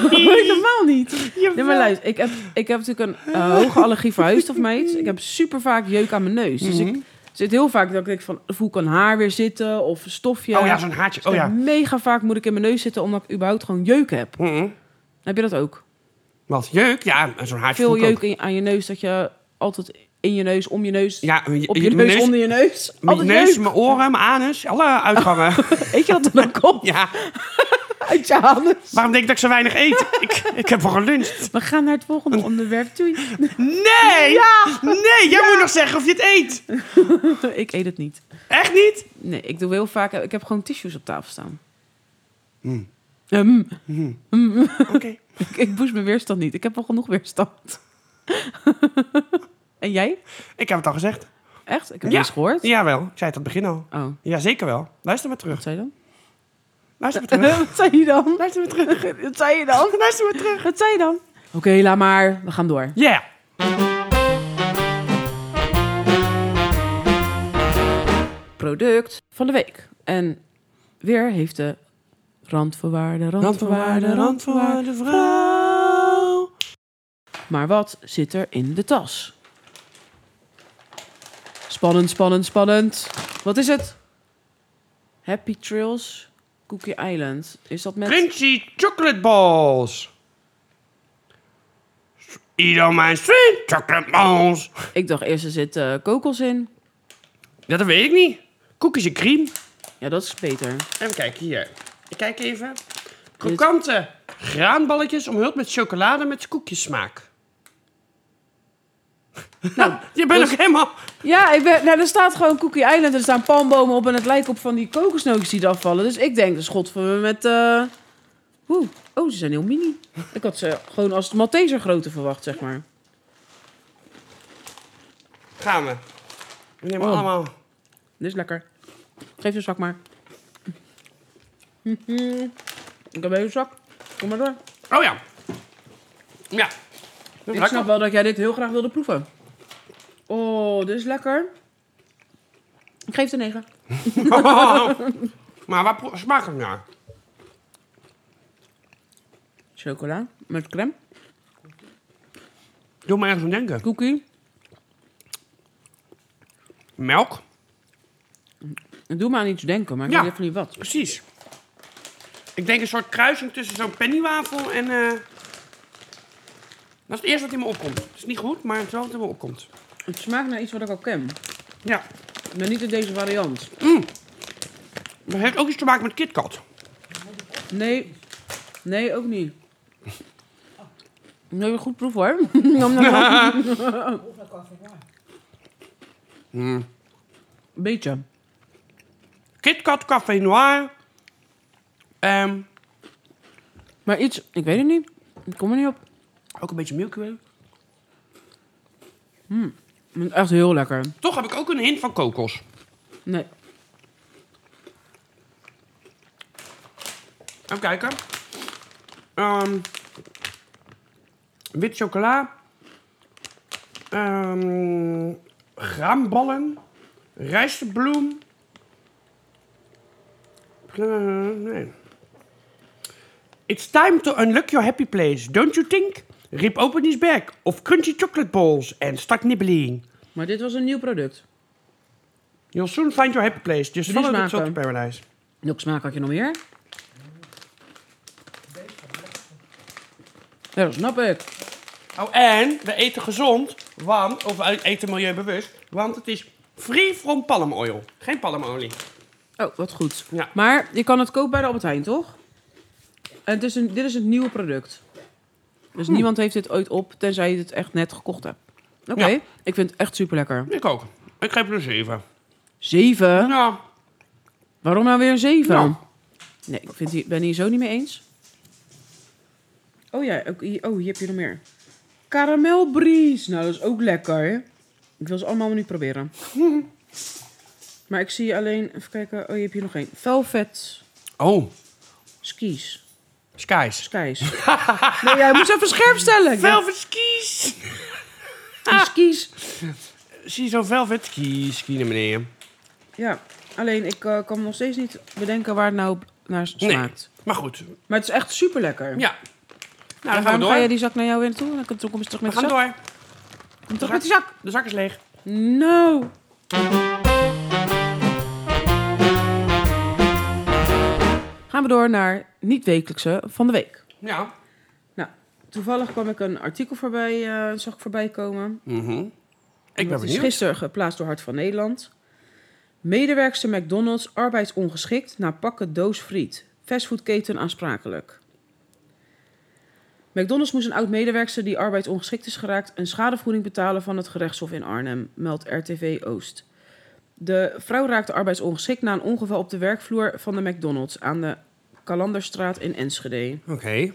Speaker 2: <laughs> Helemaal niet. Nee, maar
Speaker 1: Jawel.
Speaker 2: luister, ik heb, ik heb natuurlijk een eh, hoge allergie voor huisstofmeet. Ik heb super vaak jeuk aan mijn neus. Dus
Speaker 1: Mhm.
Speaker 2: ik zit heel vaak dat ik denk van, voel ik een haar weer zitten of een stofje.
Speaker 1: Oh ja, zo'n haartje. Oh
Speaker 2: Dus ik
Speaker 1: ja.
Speaker 2: heb Mega vaak moet ik in mijn neus zitten omdat ik überhaupt gewoon jeuk heb.
Speaker 1: Mhm.
Speaker 2: Heb je dat ook?
Speaker 1: Wat? Jeuk? Ja, zo'n haartje
Speaker 2: Veel
Speaker 1: voel ik ook.
Speaker 2: jeuk in, aan je neus dat je altijd in je neus, om je neus,
Speaker 1: Ja, mijn-
Speaker 2: op je
Speaker 1: mijn
Speaker 2: neus, onder je neus.
Speaker 1: Mijn
Speaker 2: Altijd
Speaker 1: neus,
Speaker 2: jeuk.
Speaker 1: mijn oren, mijn anus, alle
Speaker 2: <laughs>
Speaker 1: uitgangen. <laughs>
Speaker 2: Eet je dat dan ook op
Speaker 1: ja.
Speaker 2: uit je handen?
Speaker 1: Waarom denk ik dat ik zo weinig
Speaker 2: <laughs>
Speaker 1: eet? ik, ik heb al geluncht.
Speaker 2: We gaan naar het volgende onderwerp. Doei.
Speaker 1: Nee! Nee, jij moet nog zeggen of je het eet.
Speaker 2: ik eet het niet.
Speaker 1: Echt niet?
Speaker 2: Nee, ik doe heel vaak. Ik heb gewoon tissues op tafel staan.
Speaker 1: Hmm.
Speaker 2: Ehm,
Speaker 1: Oké.
Speaker 2: ik, ik boost mijn weerstand niet. Ik heb al genoeg weerstand. <laughs> en jij?
Speaker 1: Ik heb het al gezegd.
Speaker 2: Echt? Ik heb
Speaker 1: Ja.
Speaker 2: niks gehoord.
Speaker 1: Jawel, ik zei het aan het begin al.
Speaker 2: Oh,
Speaker 1: Jazeker wel. Luister maar terug.
Speaker 2: wat zei je dan?
Speaker 1: Luister maar terug.
Speaker 2: <laughs> wat zei je dan? Luister me terug. wat zei je dan?
Speaker 1: Luister maar terug.
Speaker 2: Wat zei je dan? Oké, laat maar. We gaan door.
Speaker 1: Ja.
Speaker 2: Product van de week. En weer heeft de randvoorwaarde, randvoorwaarde, randvoorwaarde.
Speaker 1: vrouw.
Speaker 2: Maar wat zit er in de tas? Spannend, spannend, spannend. Wat is het? Happy Trails Cookie Island. Is dat met...
Speaker 1: Crunchy chocolate balls. Eat all my sweet chocolate balls.
Speaker 2: Ik dacht eerst er zit eh, kokos in.
Speaker 1: Ja, dat weet ik niet. Koekjes en cream.
Speaker 2: Ja, dat is beter.
Speaker 1: Even kijken hier. Ik kijk even. Krokante graanballetjes omhuld met chocolade met <laughs> koekjesmaak. <laughs> je bent
Speaker 2: dus-
Speaker 1: ook helemaal...
Speaker 2: Ja, ik ben, nou, er staat gewoon Cookie Island. Er staan palmbomen op en het lijkt op van die kokosnootjes die eraf vallen. Dus ik denk, dus god van me met... eh, Oeh, oh, ze zijn heel mini. Ik had ze gewoon als Malteser grootte verwacht, zeg maar.
Speaker 1: Gaan we. We nemen
Speaker 2: Oh.
Speaker 1: allemaal...
Speaker 2: Dit is lekker. Geef je zak maar. Mhm. Ik heb een hele zak. Kom maar door.
Speaker 1: Oh ja. Ja. Dat is
Speaker 2: Ik snap
Speaker 1: lekker.
Speaker 2: wel dat jij dit heel graag wilde proeven. Oh, dit is lekker. Ik geef het een 9.
Speaker 1: <laughs> maar waar pro- smaakt het naar?
Speaker 2: Chocola met crème.
Speaker 1: Doe me ergens aan denken.
Speaker 2: Cookie.
Speaker 1: Melk?
Speaker 2: Het doet me aan iets denken, maar ik
Speaker 1: Ja.
Speaker 2: weet even niet wat.
Speaker 1: Precies. Ik denk een soort kruising tussen zo'n pennywafel en... eh, Dat is het eerste wat in me opkomt. Het is niet goed, maar het is wel wat in me opkomt.
Speaker 2: Het smaakt naar iets wat ik al ken.
Speaker 1: Ja,
Speaker 2: Maar niet in deze variant.
Speaker 1: maar het heeft ook iets te maken met KitKat.
Speaker 2: Nee, nee, ook niet. Nee, goed proef hoor. <laughs> Nom, nom, nom. Beetje.
Speaker 1: KitKat Café Noir. Ehm,
Speaker 2: Maar iets, ik weet het niet. Ik kom er niet op.
Speaker 1: ook een beetje Milky Way.
Speaker 2: Maar Echt heel lekker.
Speaker 1: Toch heb ik ook een hint van kokos.
Speaker 2: Nee.
Speaker 1: Even kijken. Ehm, wit chocola. Ehm, graanballen. Rijstbloem. Eh, nee. It's time to unlock your happy place, don't you think? Rip open his bag of crunchy chocolate balls and start nibbling.
Speaker 2: Maar dit was een nieuw product.
Speaker 1: You'll soon find your happy place. Just
Speaker 2: Drie
Speaker 1: follow the
Speaker 2: smaken.
Speaker 1: to paradise.
Speaker 2: Welke smaak had je nog meer? Ja, dat snap ik.
Speaker 1: Oh, en we eten gezond, want, of we eten milieubewust, want het is free from palm oil. Geen palmolie.
Speaker 2: Oh, wat goed.
Speaker 1: Ja.
Speaker 2: Maar je kan het kopen bij de Albert Heijn, toch? En het is een, dit is het nieuwe product. Dus niemand heeft dit ooit op, tenzij je het echt net gekocht hebt. Oké,
Speaker 1: Ja.
Speaker 2: ik vind het echt super lekker.
Speaker 1: Ik ook. Ik geef er een 7.
Speaker 2: Zeven?
Speaker 1: Nou,
Speaker 2: Waarom nou weer een zeven?
Speaker 1: Nou.
Speaker 2: Nee, ik vind die, ben hier zo niet mee eens. Oh ja, ook hier, oh, hier heb je nog meer. Karamelbries. Nou, dat is ook lekker. Ik wil ze allemaal niet <laughs> proberen. maar ik zie alleen, even kijken. Oh, hier heb je nog één. Velvet
Speaker 1: Oh,
Speaker 2: skis.
Speaker 1: skies.
Speaker 2: Skies. nee, jij moest even scherp stellen. Ik dacht,
Speaker 1: Velvet skis.
Speaker 2: die skis.
Speaker 1: Zie je zo velvet skis, skiën meneer.
Speaker 2: Ja, alleen ik eh, kan nog steeds niet bedenken waar het nou naar smaakt.
Speaker 1: Maar goed,
Speaker 2: Maar het is echt super lekker.
Speaker 1: ja. Nou, dan
Speaker 2: En
Speaker 1: gaan we
Speaker 2: waarom ga je
Speaker 1: door.
Speaker 2: die zak naar jou weer naartoe? Dan kom je terug
Speaker 1: We
Speaker 2: met de
Speaker 1: gaan
Speaker 2: zak.
Speaker 1: door.
Speaker 2: Kom terug met die zak.
Speaker 1: De zak is leeg.
Speaker 2: No. Gaan we door naar niet-wekelijkse van de week.
Speaker 1: Ja.
Speaker 2: Nou, toevallig kwam ik een artikel voorbij, eh, zag ik voorbij komen.
Speaker 1: Mhm. Ik ben
Speaker 2: Dat is
Speaker 1: benieuwd.
Speaker 2: gisteren geplaatst door Hart van Nederland. Medewerkster McDonald's arbeidsongeschikt na pakken doos friet. Fastfoodketen aansprakelijk. McDonald's moest een oud-medewerkster die arbeidsongeschikt is geraakt... een schadevergoeding betalen van het gerechtshof in Arnhem, meldt RTV Oost. De vrouw raakte arbeidsongeschikt na een ongeval op de werkvloer van de McDonald's... aan de Kalanderstraat in Enschede.
Speaker 1: Oké.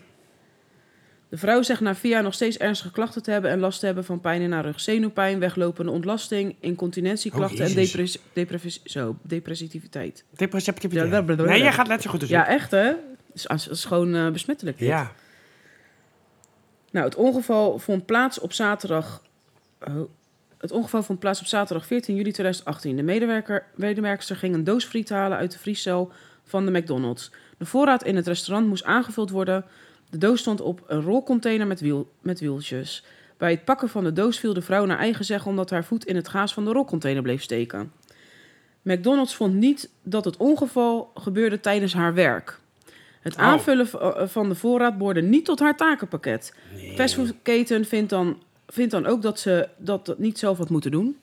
Speaker 2: De vrouw zegt na vier jaar nog steeds ernstige klachten te hebben en last te hebben van pijn in haar rug, zenuwpijn, weglopende ontlasting, incontinentieklachten
Speaker 1: Oh,
Speaker 2: en
Speaker 1: Jezus.
Speaker 2: depres depres- zo, depressiviteit. Ja,
Speaker 1: Depressiviteit.
Speaker 2: dat bedoel
Speaker 1: Nee,
Speaker 2: ik.
Speaker 1: jij gaat letterlijk goed dus.
Speaker 2: Ja, echt hè? Dat is, dat is gewoon eh, besmettelijk. dit.
Speaker 1: Ja.
Speaker 2: Nou, het ongeval vond plaats op zaterdag. oh. het ongeval vond plaats op zaterdag 14 juli 2018. De medewerker, medewerkster ging een doos friet halen uit de vriescel van de McDonald's. De voorraad in het restaurant moest aangevuld worden. De doos stond op een rolcontainer met, wiel, met wieltjes. Bij het pakken van de doos viel de vrouw naar eigen zeggen omdat haar voet in het gaas van de rolcontainer bleef steken. McDonald's vond niet dat het ongeval gebeurde tijdens haar werk. Het
Speaker 1: Oh.
Speaker 2: aanvullen v- eh, van de voorraad behoorde niet tot haar takenpakket. De Fastfoodketen vindt dan, vindt dan ook dat ze dat, dat niet zelf had moeten doen.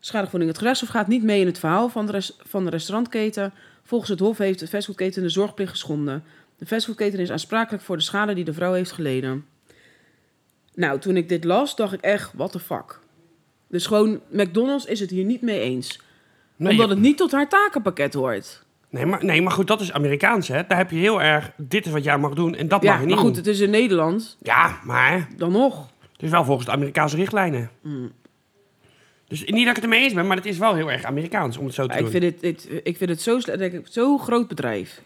Speaker 2: Schadevergoeding. Het gerechtshof gaat niet mee in het verhaal van de, res- van de restaurantketen. Volgens het Hof heeft de fastfoodketen de zorgplicht geschonden. De fastfoodketen is aansprakelijk voor de schade die de vrouw heeft geleden. Nou, toen ik dit las, dacht ik echt, what the fuck. Dus gewoon, McDonald's is het hier niet mee eens.
Speaker 1: Nee,
Speaker 2: omdat het niet tot haar takenpakket hoort.
Speaker 1: nee, maar, nee, maar goed, dat is Amerikaans, hè. Daar heb je heel erg, dit is wat jij mag doen en dat
Speaker 2: Ja,
Speaker 1: mag je niet
Speaker 2: maar goed,
Speaker 1: doen.
Speaker 2: het is in Nederland.
Speaker 1: Ja, maar...
Speaker 2: Dan nog.
Speaker 1: Het is wel volgens de Amerikaanse richtlijnen.
Speaker 2: Mm.
Speaker 1: Dus niet dat ik het ermee eens ben, maar het is wel heel erg Amerikaans om het zo te
Speaker 2: Ja,
Speaker 1: doen.
Speaker 2: ik, vind het, dit- ik vind het zo slecht. denk ik, Zo'n groot bedrijf.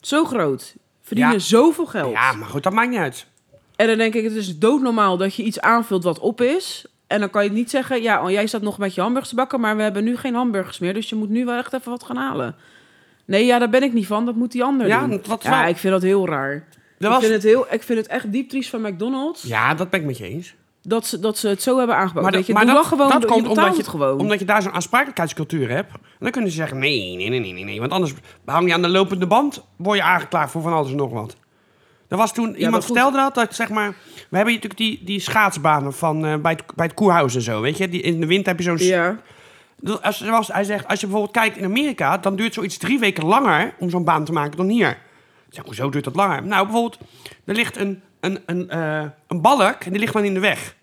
Speaker 2: Zo groot. Verdienen
Speaker 1: Ja.
Speaker 2: zoveel geld.
Speaker 1: Ja, maar goed, dat maakt niet uit.
Speaker 2: En dan denk ik, het is doodnormaal dat je iets aanvult wat op is. En dan kan je niet zeggen, ja, oh, jij staat nog met je hamburgers te bakken, maar we hebben nu geen hamburgers meer. Dus je moet nu wel echt even wat gaan halen. Nee, ja, daar ben ik niet van. Dat moet die ander
Speaker 1: Ja,
Speaker 2: doen.
Speaker 1: dat- dat is
Speaker 2: ja,
Speaker 1: wel-
Speaker 2: ik vind dat heel raar.
Speaker 1: Dat
Speaker 2: Ik,
Speaker 1: was...
Speaker 2: vind het heel, ik vind het echt diep triest van McDonald's
Speaker 1: Ja, dat ben ik met je eens.
Speaker 2: dat, ze, dat ze het zo hebben aangepakt.
Speaker 1: Maar,
Speaker 2: dat,
Speaker 1: dat-
Speaker 2: je,
Speaker 1: maar
Speaker 2: doe
Speaker 1: dat,
Speaker 2: dan gewoon,
Speaker 1: dat
Speaker 2: je
Speaker 1: komt
Speaker 2: betaalt
Speaker 1: omdat je,
Speaker 2: het gewoon.
Speaker 1: omdat je daar zo'n aansprakelijkheidscultuur hebt. En dan kunnen ze zeggen, nee, nee, nee, nee, nee, nee. Want anders hang je aan de lopende band, word je aangeklaagd voor van alles en nog wat. Er was toen, iemand
Speaker 2: maar goed.
Speaker 1: vertelde dat, dat zeg maar... We hebben hier natuurlijk die, die schaatsbanen van, eh, bij, het, bij het koerhuis en zo, weet je? Die, in de winter heb je zo'n...
Speaker 2: Ja.
Speaker 1: Dat- Als, zoals hij zegt, als je bijvoorbeeld kijkt in Amerika... dan duurt zoiets drie weken langer om zo'n baan te maken dan hier. Ik Zeg, hoezo duurt dat langer? Nou, bijvoorbeeld, er ligt een, een, een, eh, een balk en die ligt dan in de weg.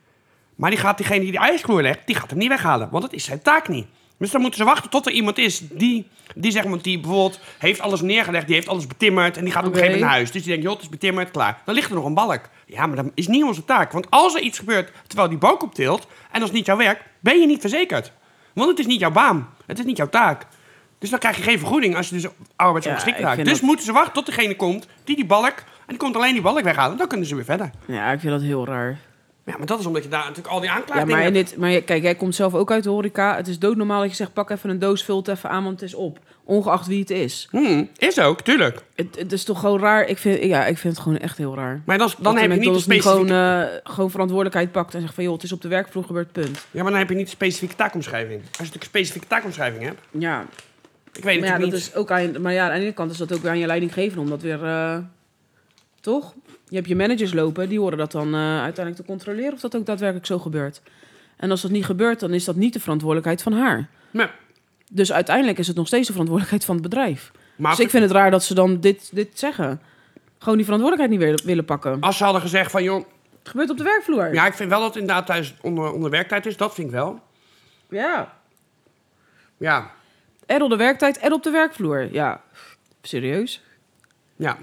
Speaker 1: Maar die gaat diegene die de ijsvloer legt, die gaat hem niet weghalen. Want dat is zijn taak niet. Dus dan moeten ze wachten tot er iemand is die, die, zeg maar, die bijvoorbeeld heeft alles neergelegd, die heeft alles betimmerd en die gaat op een
Speaker 2: Oké.
Speaker 1: gegeven moment naar huis. Dus die denkt, joh, het is betimmerd, klaar. Dan ligt er nog een balk. Ja, maar dat is niet onze taak. Want als er iets gebeurt terwijl die balk optilt en dat is niet jouw werk, ben je niet verzekerd. Want het is niet jouw baan. Het is niet jouw taak. Dus dan krijg je geen vergoeding als je dus arbeidsongeschikt
Speaker 2: Ja, ik
Speaker 1: raakt.
Speaker 2: vind
Speaker 1: Dus
Speaker 2: dat-
Speaker 1: moeten ze wachten tot degene komt die die balk... en die komt alleen die balk weghalen. Dan kunnen ze weer verder.
Speaker 2: ja, ik vind dat heel raar.
Speaker 1: Ja, maar dat is omdat je daar natuurlijk al die
Speaker 2: Ja,
Speaker 1: aanklaagdingen
Speaker 2: maar, in
Speaker 1: hebt.
Speaker 2: dit, maar je- kijk, jij komt zelf ook uit de horeca. Het is doodnormaal dat je zegt, pak even een doos, vul het even aan, want het is op. Ongeacht wie het is.
Speaker 1: Hmm, is ook, tuurlijk.
Speaker 2: Het, het is toch gewoon raar. Ik vind, ja, ik vind het gewoon echt heel raar.
Speaker 1: Maar dan, dan
Speaker 2: Dat
Speaker 1: heb je niet de
Speaker 2: McDonald's
Speaker 1: specifieke...
Speaker 2: gewoon, eh, gewoon verantwoordelijkheid pakt en zegt van... joh, het is op de werkvloer gebeurd, punt.
Speaker 1: Ja, maar dan heb je niet de specifieke taakomschrijving. Als je natuurlijk een specifieke taakomschrijving hebt...
Speaker 2: Ja,
Speaker 1: Ik weet
Speaker 2: maar ja,
Speaker 1: natuurlijk
Speaker 2: dat
Speaker 1: niet...
Speaker 2: is ook aan, maar ja, aan de ene kant is dat ook weer aan je leidinggevende om dat weer... eh, toch? Je hebt je managers lopen, die horen dat dan eh, uiteindelijk te controleren... of dat ook daadwerkelijk zo gebeurt. En als dat niet gebeurt, dan is dat niet de verantwoordelijkheid van haar.
Speaker 1: Maar,
Speaker 2: Dus uiteindelijk is het nog steeds de verantwoordelijkheid van het bedrijf.
Speaker 1: maar
Speaker 2: dus ik vind het raar dat ze dan dit, dit zeggen. Gewoon die verantwoordelijkheid niet weer willen pakken.
Speaker 1: als ze hadden gezegd van... joh,
Speaker 2: Het gebeurt op de werkvloer.
Speaker 1: ja, ik vind wel dat het inderdaad thuis onder, onder werktijd is. Dat vind ik wel.
Speaker 2: ja.
Speaker 1: Ja,
Speaker 2: En op de werktijd en op de werkvloer. Ja, serieus.
Speaker 1: ja.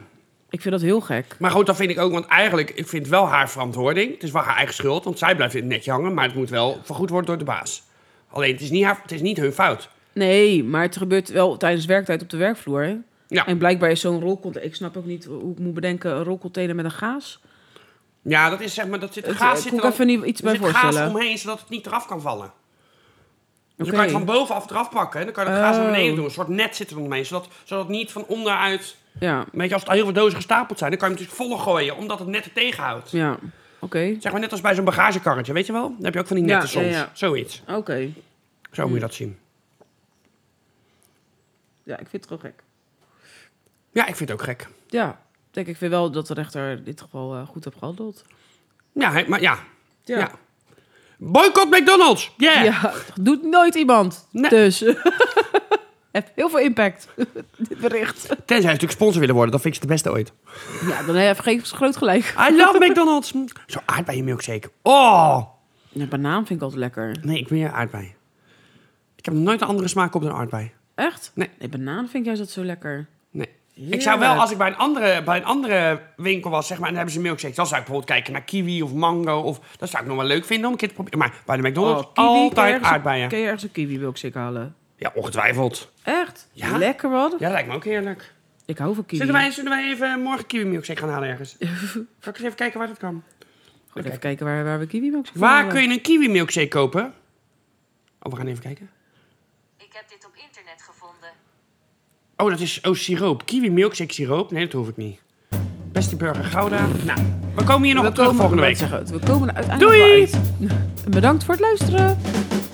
Speaker 2: Ik vind dat heel gek.
Speaker 1: Maar goed, dat vind ik ook, want eigenlijk, ik vind wel haar verantwoording. Het is wel haar eigen schuld, want zij blijft in het netje hangen, maar het moet wel vergoed worden door de baas. Alleen, het is niet, haar, het is niet hun fout.
Speaker 2: Nee, maar het gebeurt wel tijdens werktijd op de werkvloer. hè?
Speaker 1: Ja.
Speaker 2: En blijkbaar is zo'n rolcontainer... Ik snap ook niet hoe ik moet bedenken... een rolcontainer met een gaas.
Speaker 1: Ja, dat is zeg maar, dat zit
Speaker 2: Het,
Speaker 1: gaas
Speaker 2: eh,
Speaker 1: zit
Speaker 2: kon
Speaker 1: er
Speaker 2: ik
Speaker 1: dan-
Speaker 2: even niet iets
Speaker 1: er
Speaker 2: bij
Speaker 1: zit gaas
Speaker 2: voorstellen.
Speaker 1: omheen, zodat het niet eraf kan vallen. Dus
Speaker 2: Oké.
Speaker 1: je kan het van bovenaf eraf pakken en dan kan je het gaas naar
Speaker 2: Oh.
Speaker 1: beneden doen. Een soort net zit er omheen, zodat, zodat het niet van onderuit...
Speaker 2: Ja,
Speaker 1: Weet je, als er heel veel dozen gestapeld zijn, dan kan je hem natuurlijk volle gooien, omdat het net er tegenhoudt.
Speaker 2: ja. Oké.
Speaker 1: Zeg maar net als bij zo'n bagagekarretje, weet je wel? Dan heb je ook van die
Speaker 2: Ja,
Speaker 1: netten
Speaker 2: ja,
Speaker 1: soms.
Speaker 2: ja.
Speaker 1: Zoiets.
Speaker 2: Oké.
Speaker 1: Zo moet je dat zien.
Speaker 2: Ja, ik vind het gewoon gek.
Speaker 1: Ja, ik vind het ook gek.
Speaker 2: Ja. Ik Denk, ik vind wel dat de rechter in dit geval eh, goed heeft gehandeld.
Speaker 1: Ja, hè, maar ja,
Speaker 2: Ja.
Speaker 1: Ja. Boycott McDonald's! Yeah!
Speaker 2: Ja, doet nooit iemand.
Speaker 1: Nee.
Speaker 2: Dus. <laughs> Heeft heel veel impact. <laughs> Dit bericht.
Speaker 1: Tenzij ze natuurlijk sponsor willen worden, dan vind ik ze de beste ooit.
Speaker 2: Ja, dan heb je groot gelijk.
Speaker 1: I love <laughs> McDonald's! Mm, Zo'n aardbeienmilkshake. Oh!
Speaker 2: Ja, banaan vind ik altijd lekker.
Speaker 1: Nee, ik ben meer aardbei. Ik heb nog nooit een andere smaak op dan aardbei.
Speaker 2: Echt?
Speaker 1: Nee.
Speaker 2: banaan vind ik juist dat zo lekker.
Speaker 1: Nee. Ik zou wel, als ik bij een, andere, bij een andere winkel was, zeg maar, en dan hebben ze milkshakes. Dan zou ik bijvoorbeeld kijken naar kiwi of mango. Of, dat zou ik nog wel leuk vinden om een keer te proberen. Maar bij de McDonald's Oh,
Speaker 2: Oh,
Speaker 1: altijd aardbeien.
Speaker 2: Kun je ergens een kiwi milkshake halen?
Speaker 1: Ja, ongetwijfeld.
Speaker 2: Echt?
Speaker 1: Ja.
Speaker 2: Lekker wat?
Speaker 1: Ja, lijkt me ook heerlijk.
Speaker 2: Ik hou van kiwi.
Speaker 1: Zullen wij, zullen wij even morgen kiwi milkshake gaan halen <laughs> ergens? Zal ik eens even kijken waar dat kan?
Speaker 2: Goed, even kijken waar, waar we kiwi milkshake
Speaker 1: Waar kun je een kiwi milkshake kopen? Oh, we gaan even kijken.
Speaker 3: Ik heb dit op internet gevonden.
Speaker 1: Oh, dat is oh, siroop. Kiwi milkshake siroop. Nee, dat hoef ik niet. Beste burger Gouda. Nou, we komen hier nog op terug volgende week.
Speaker 2: We komen er uiteindelijk
Speaker 1: Doei!
Speaker 2: <laughs> wel uit. Bedankt voor het luisteren.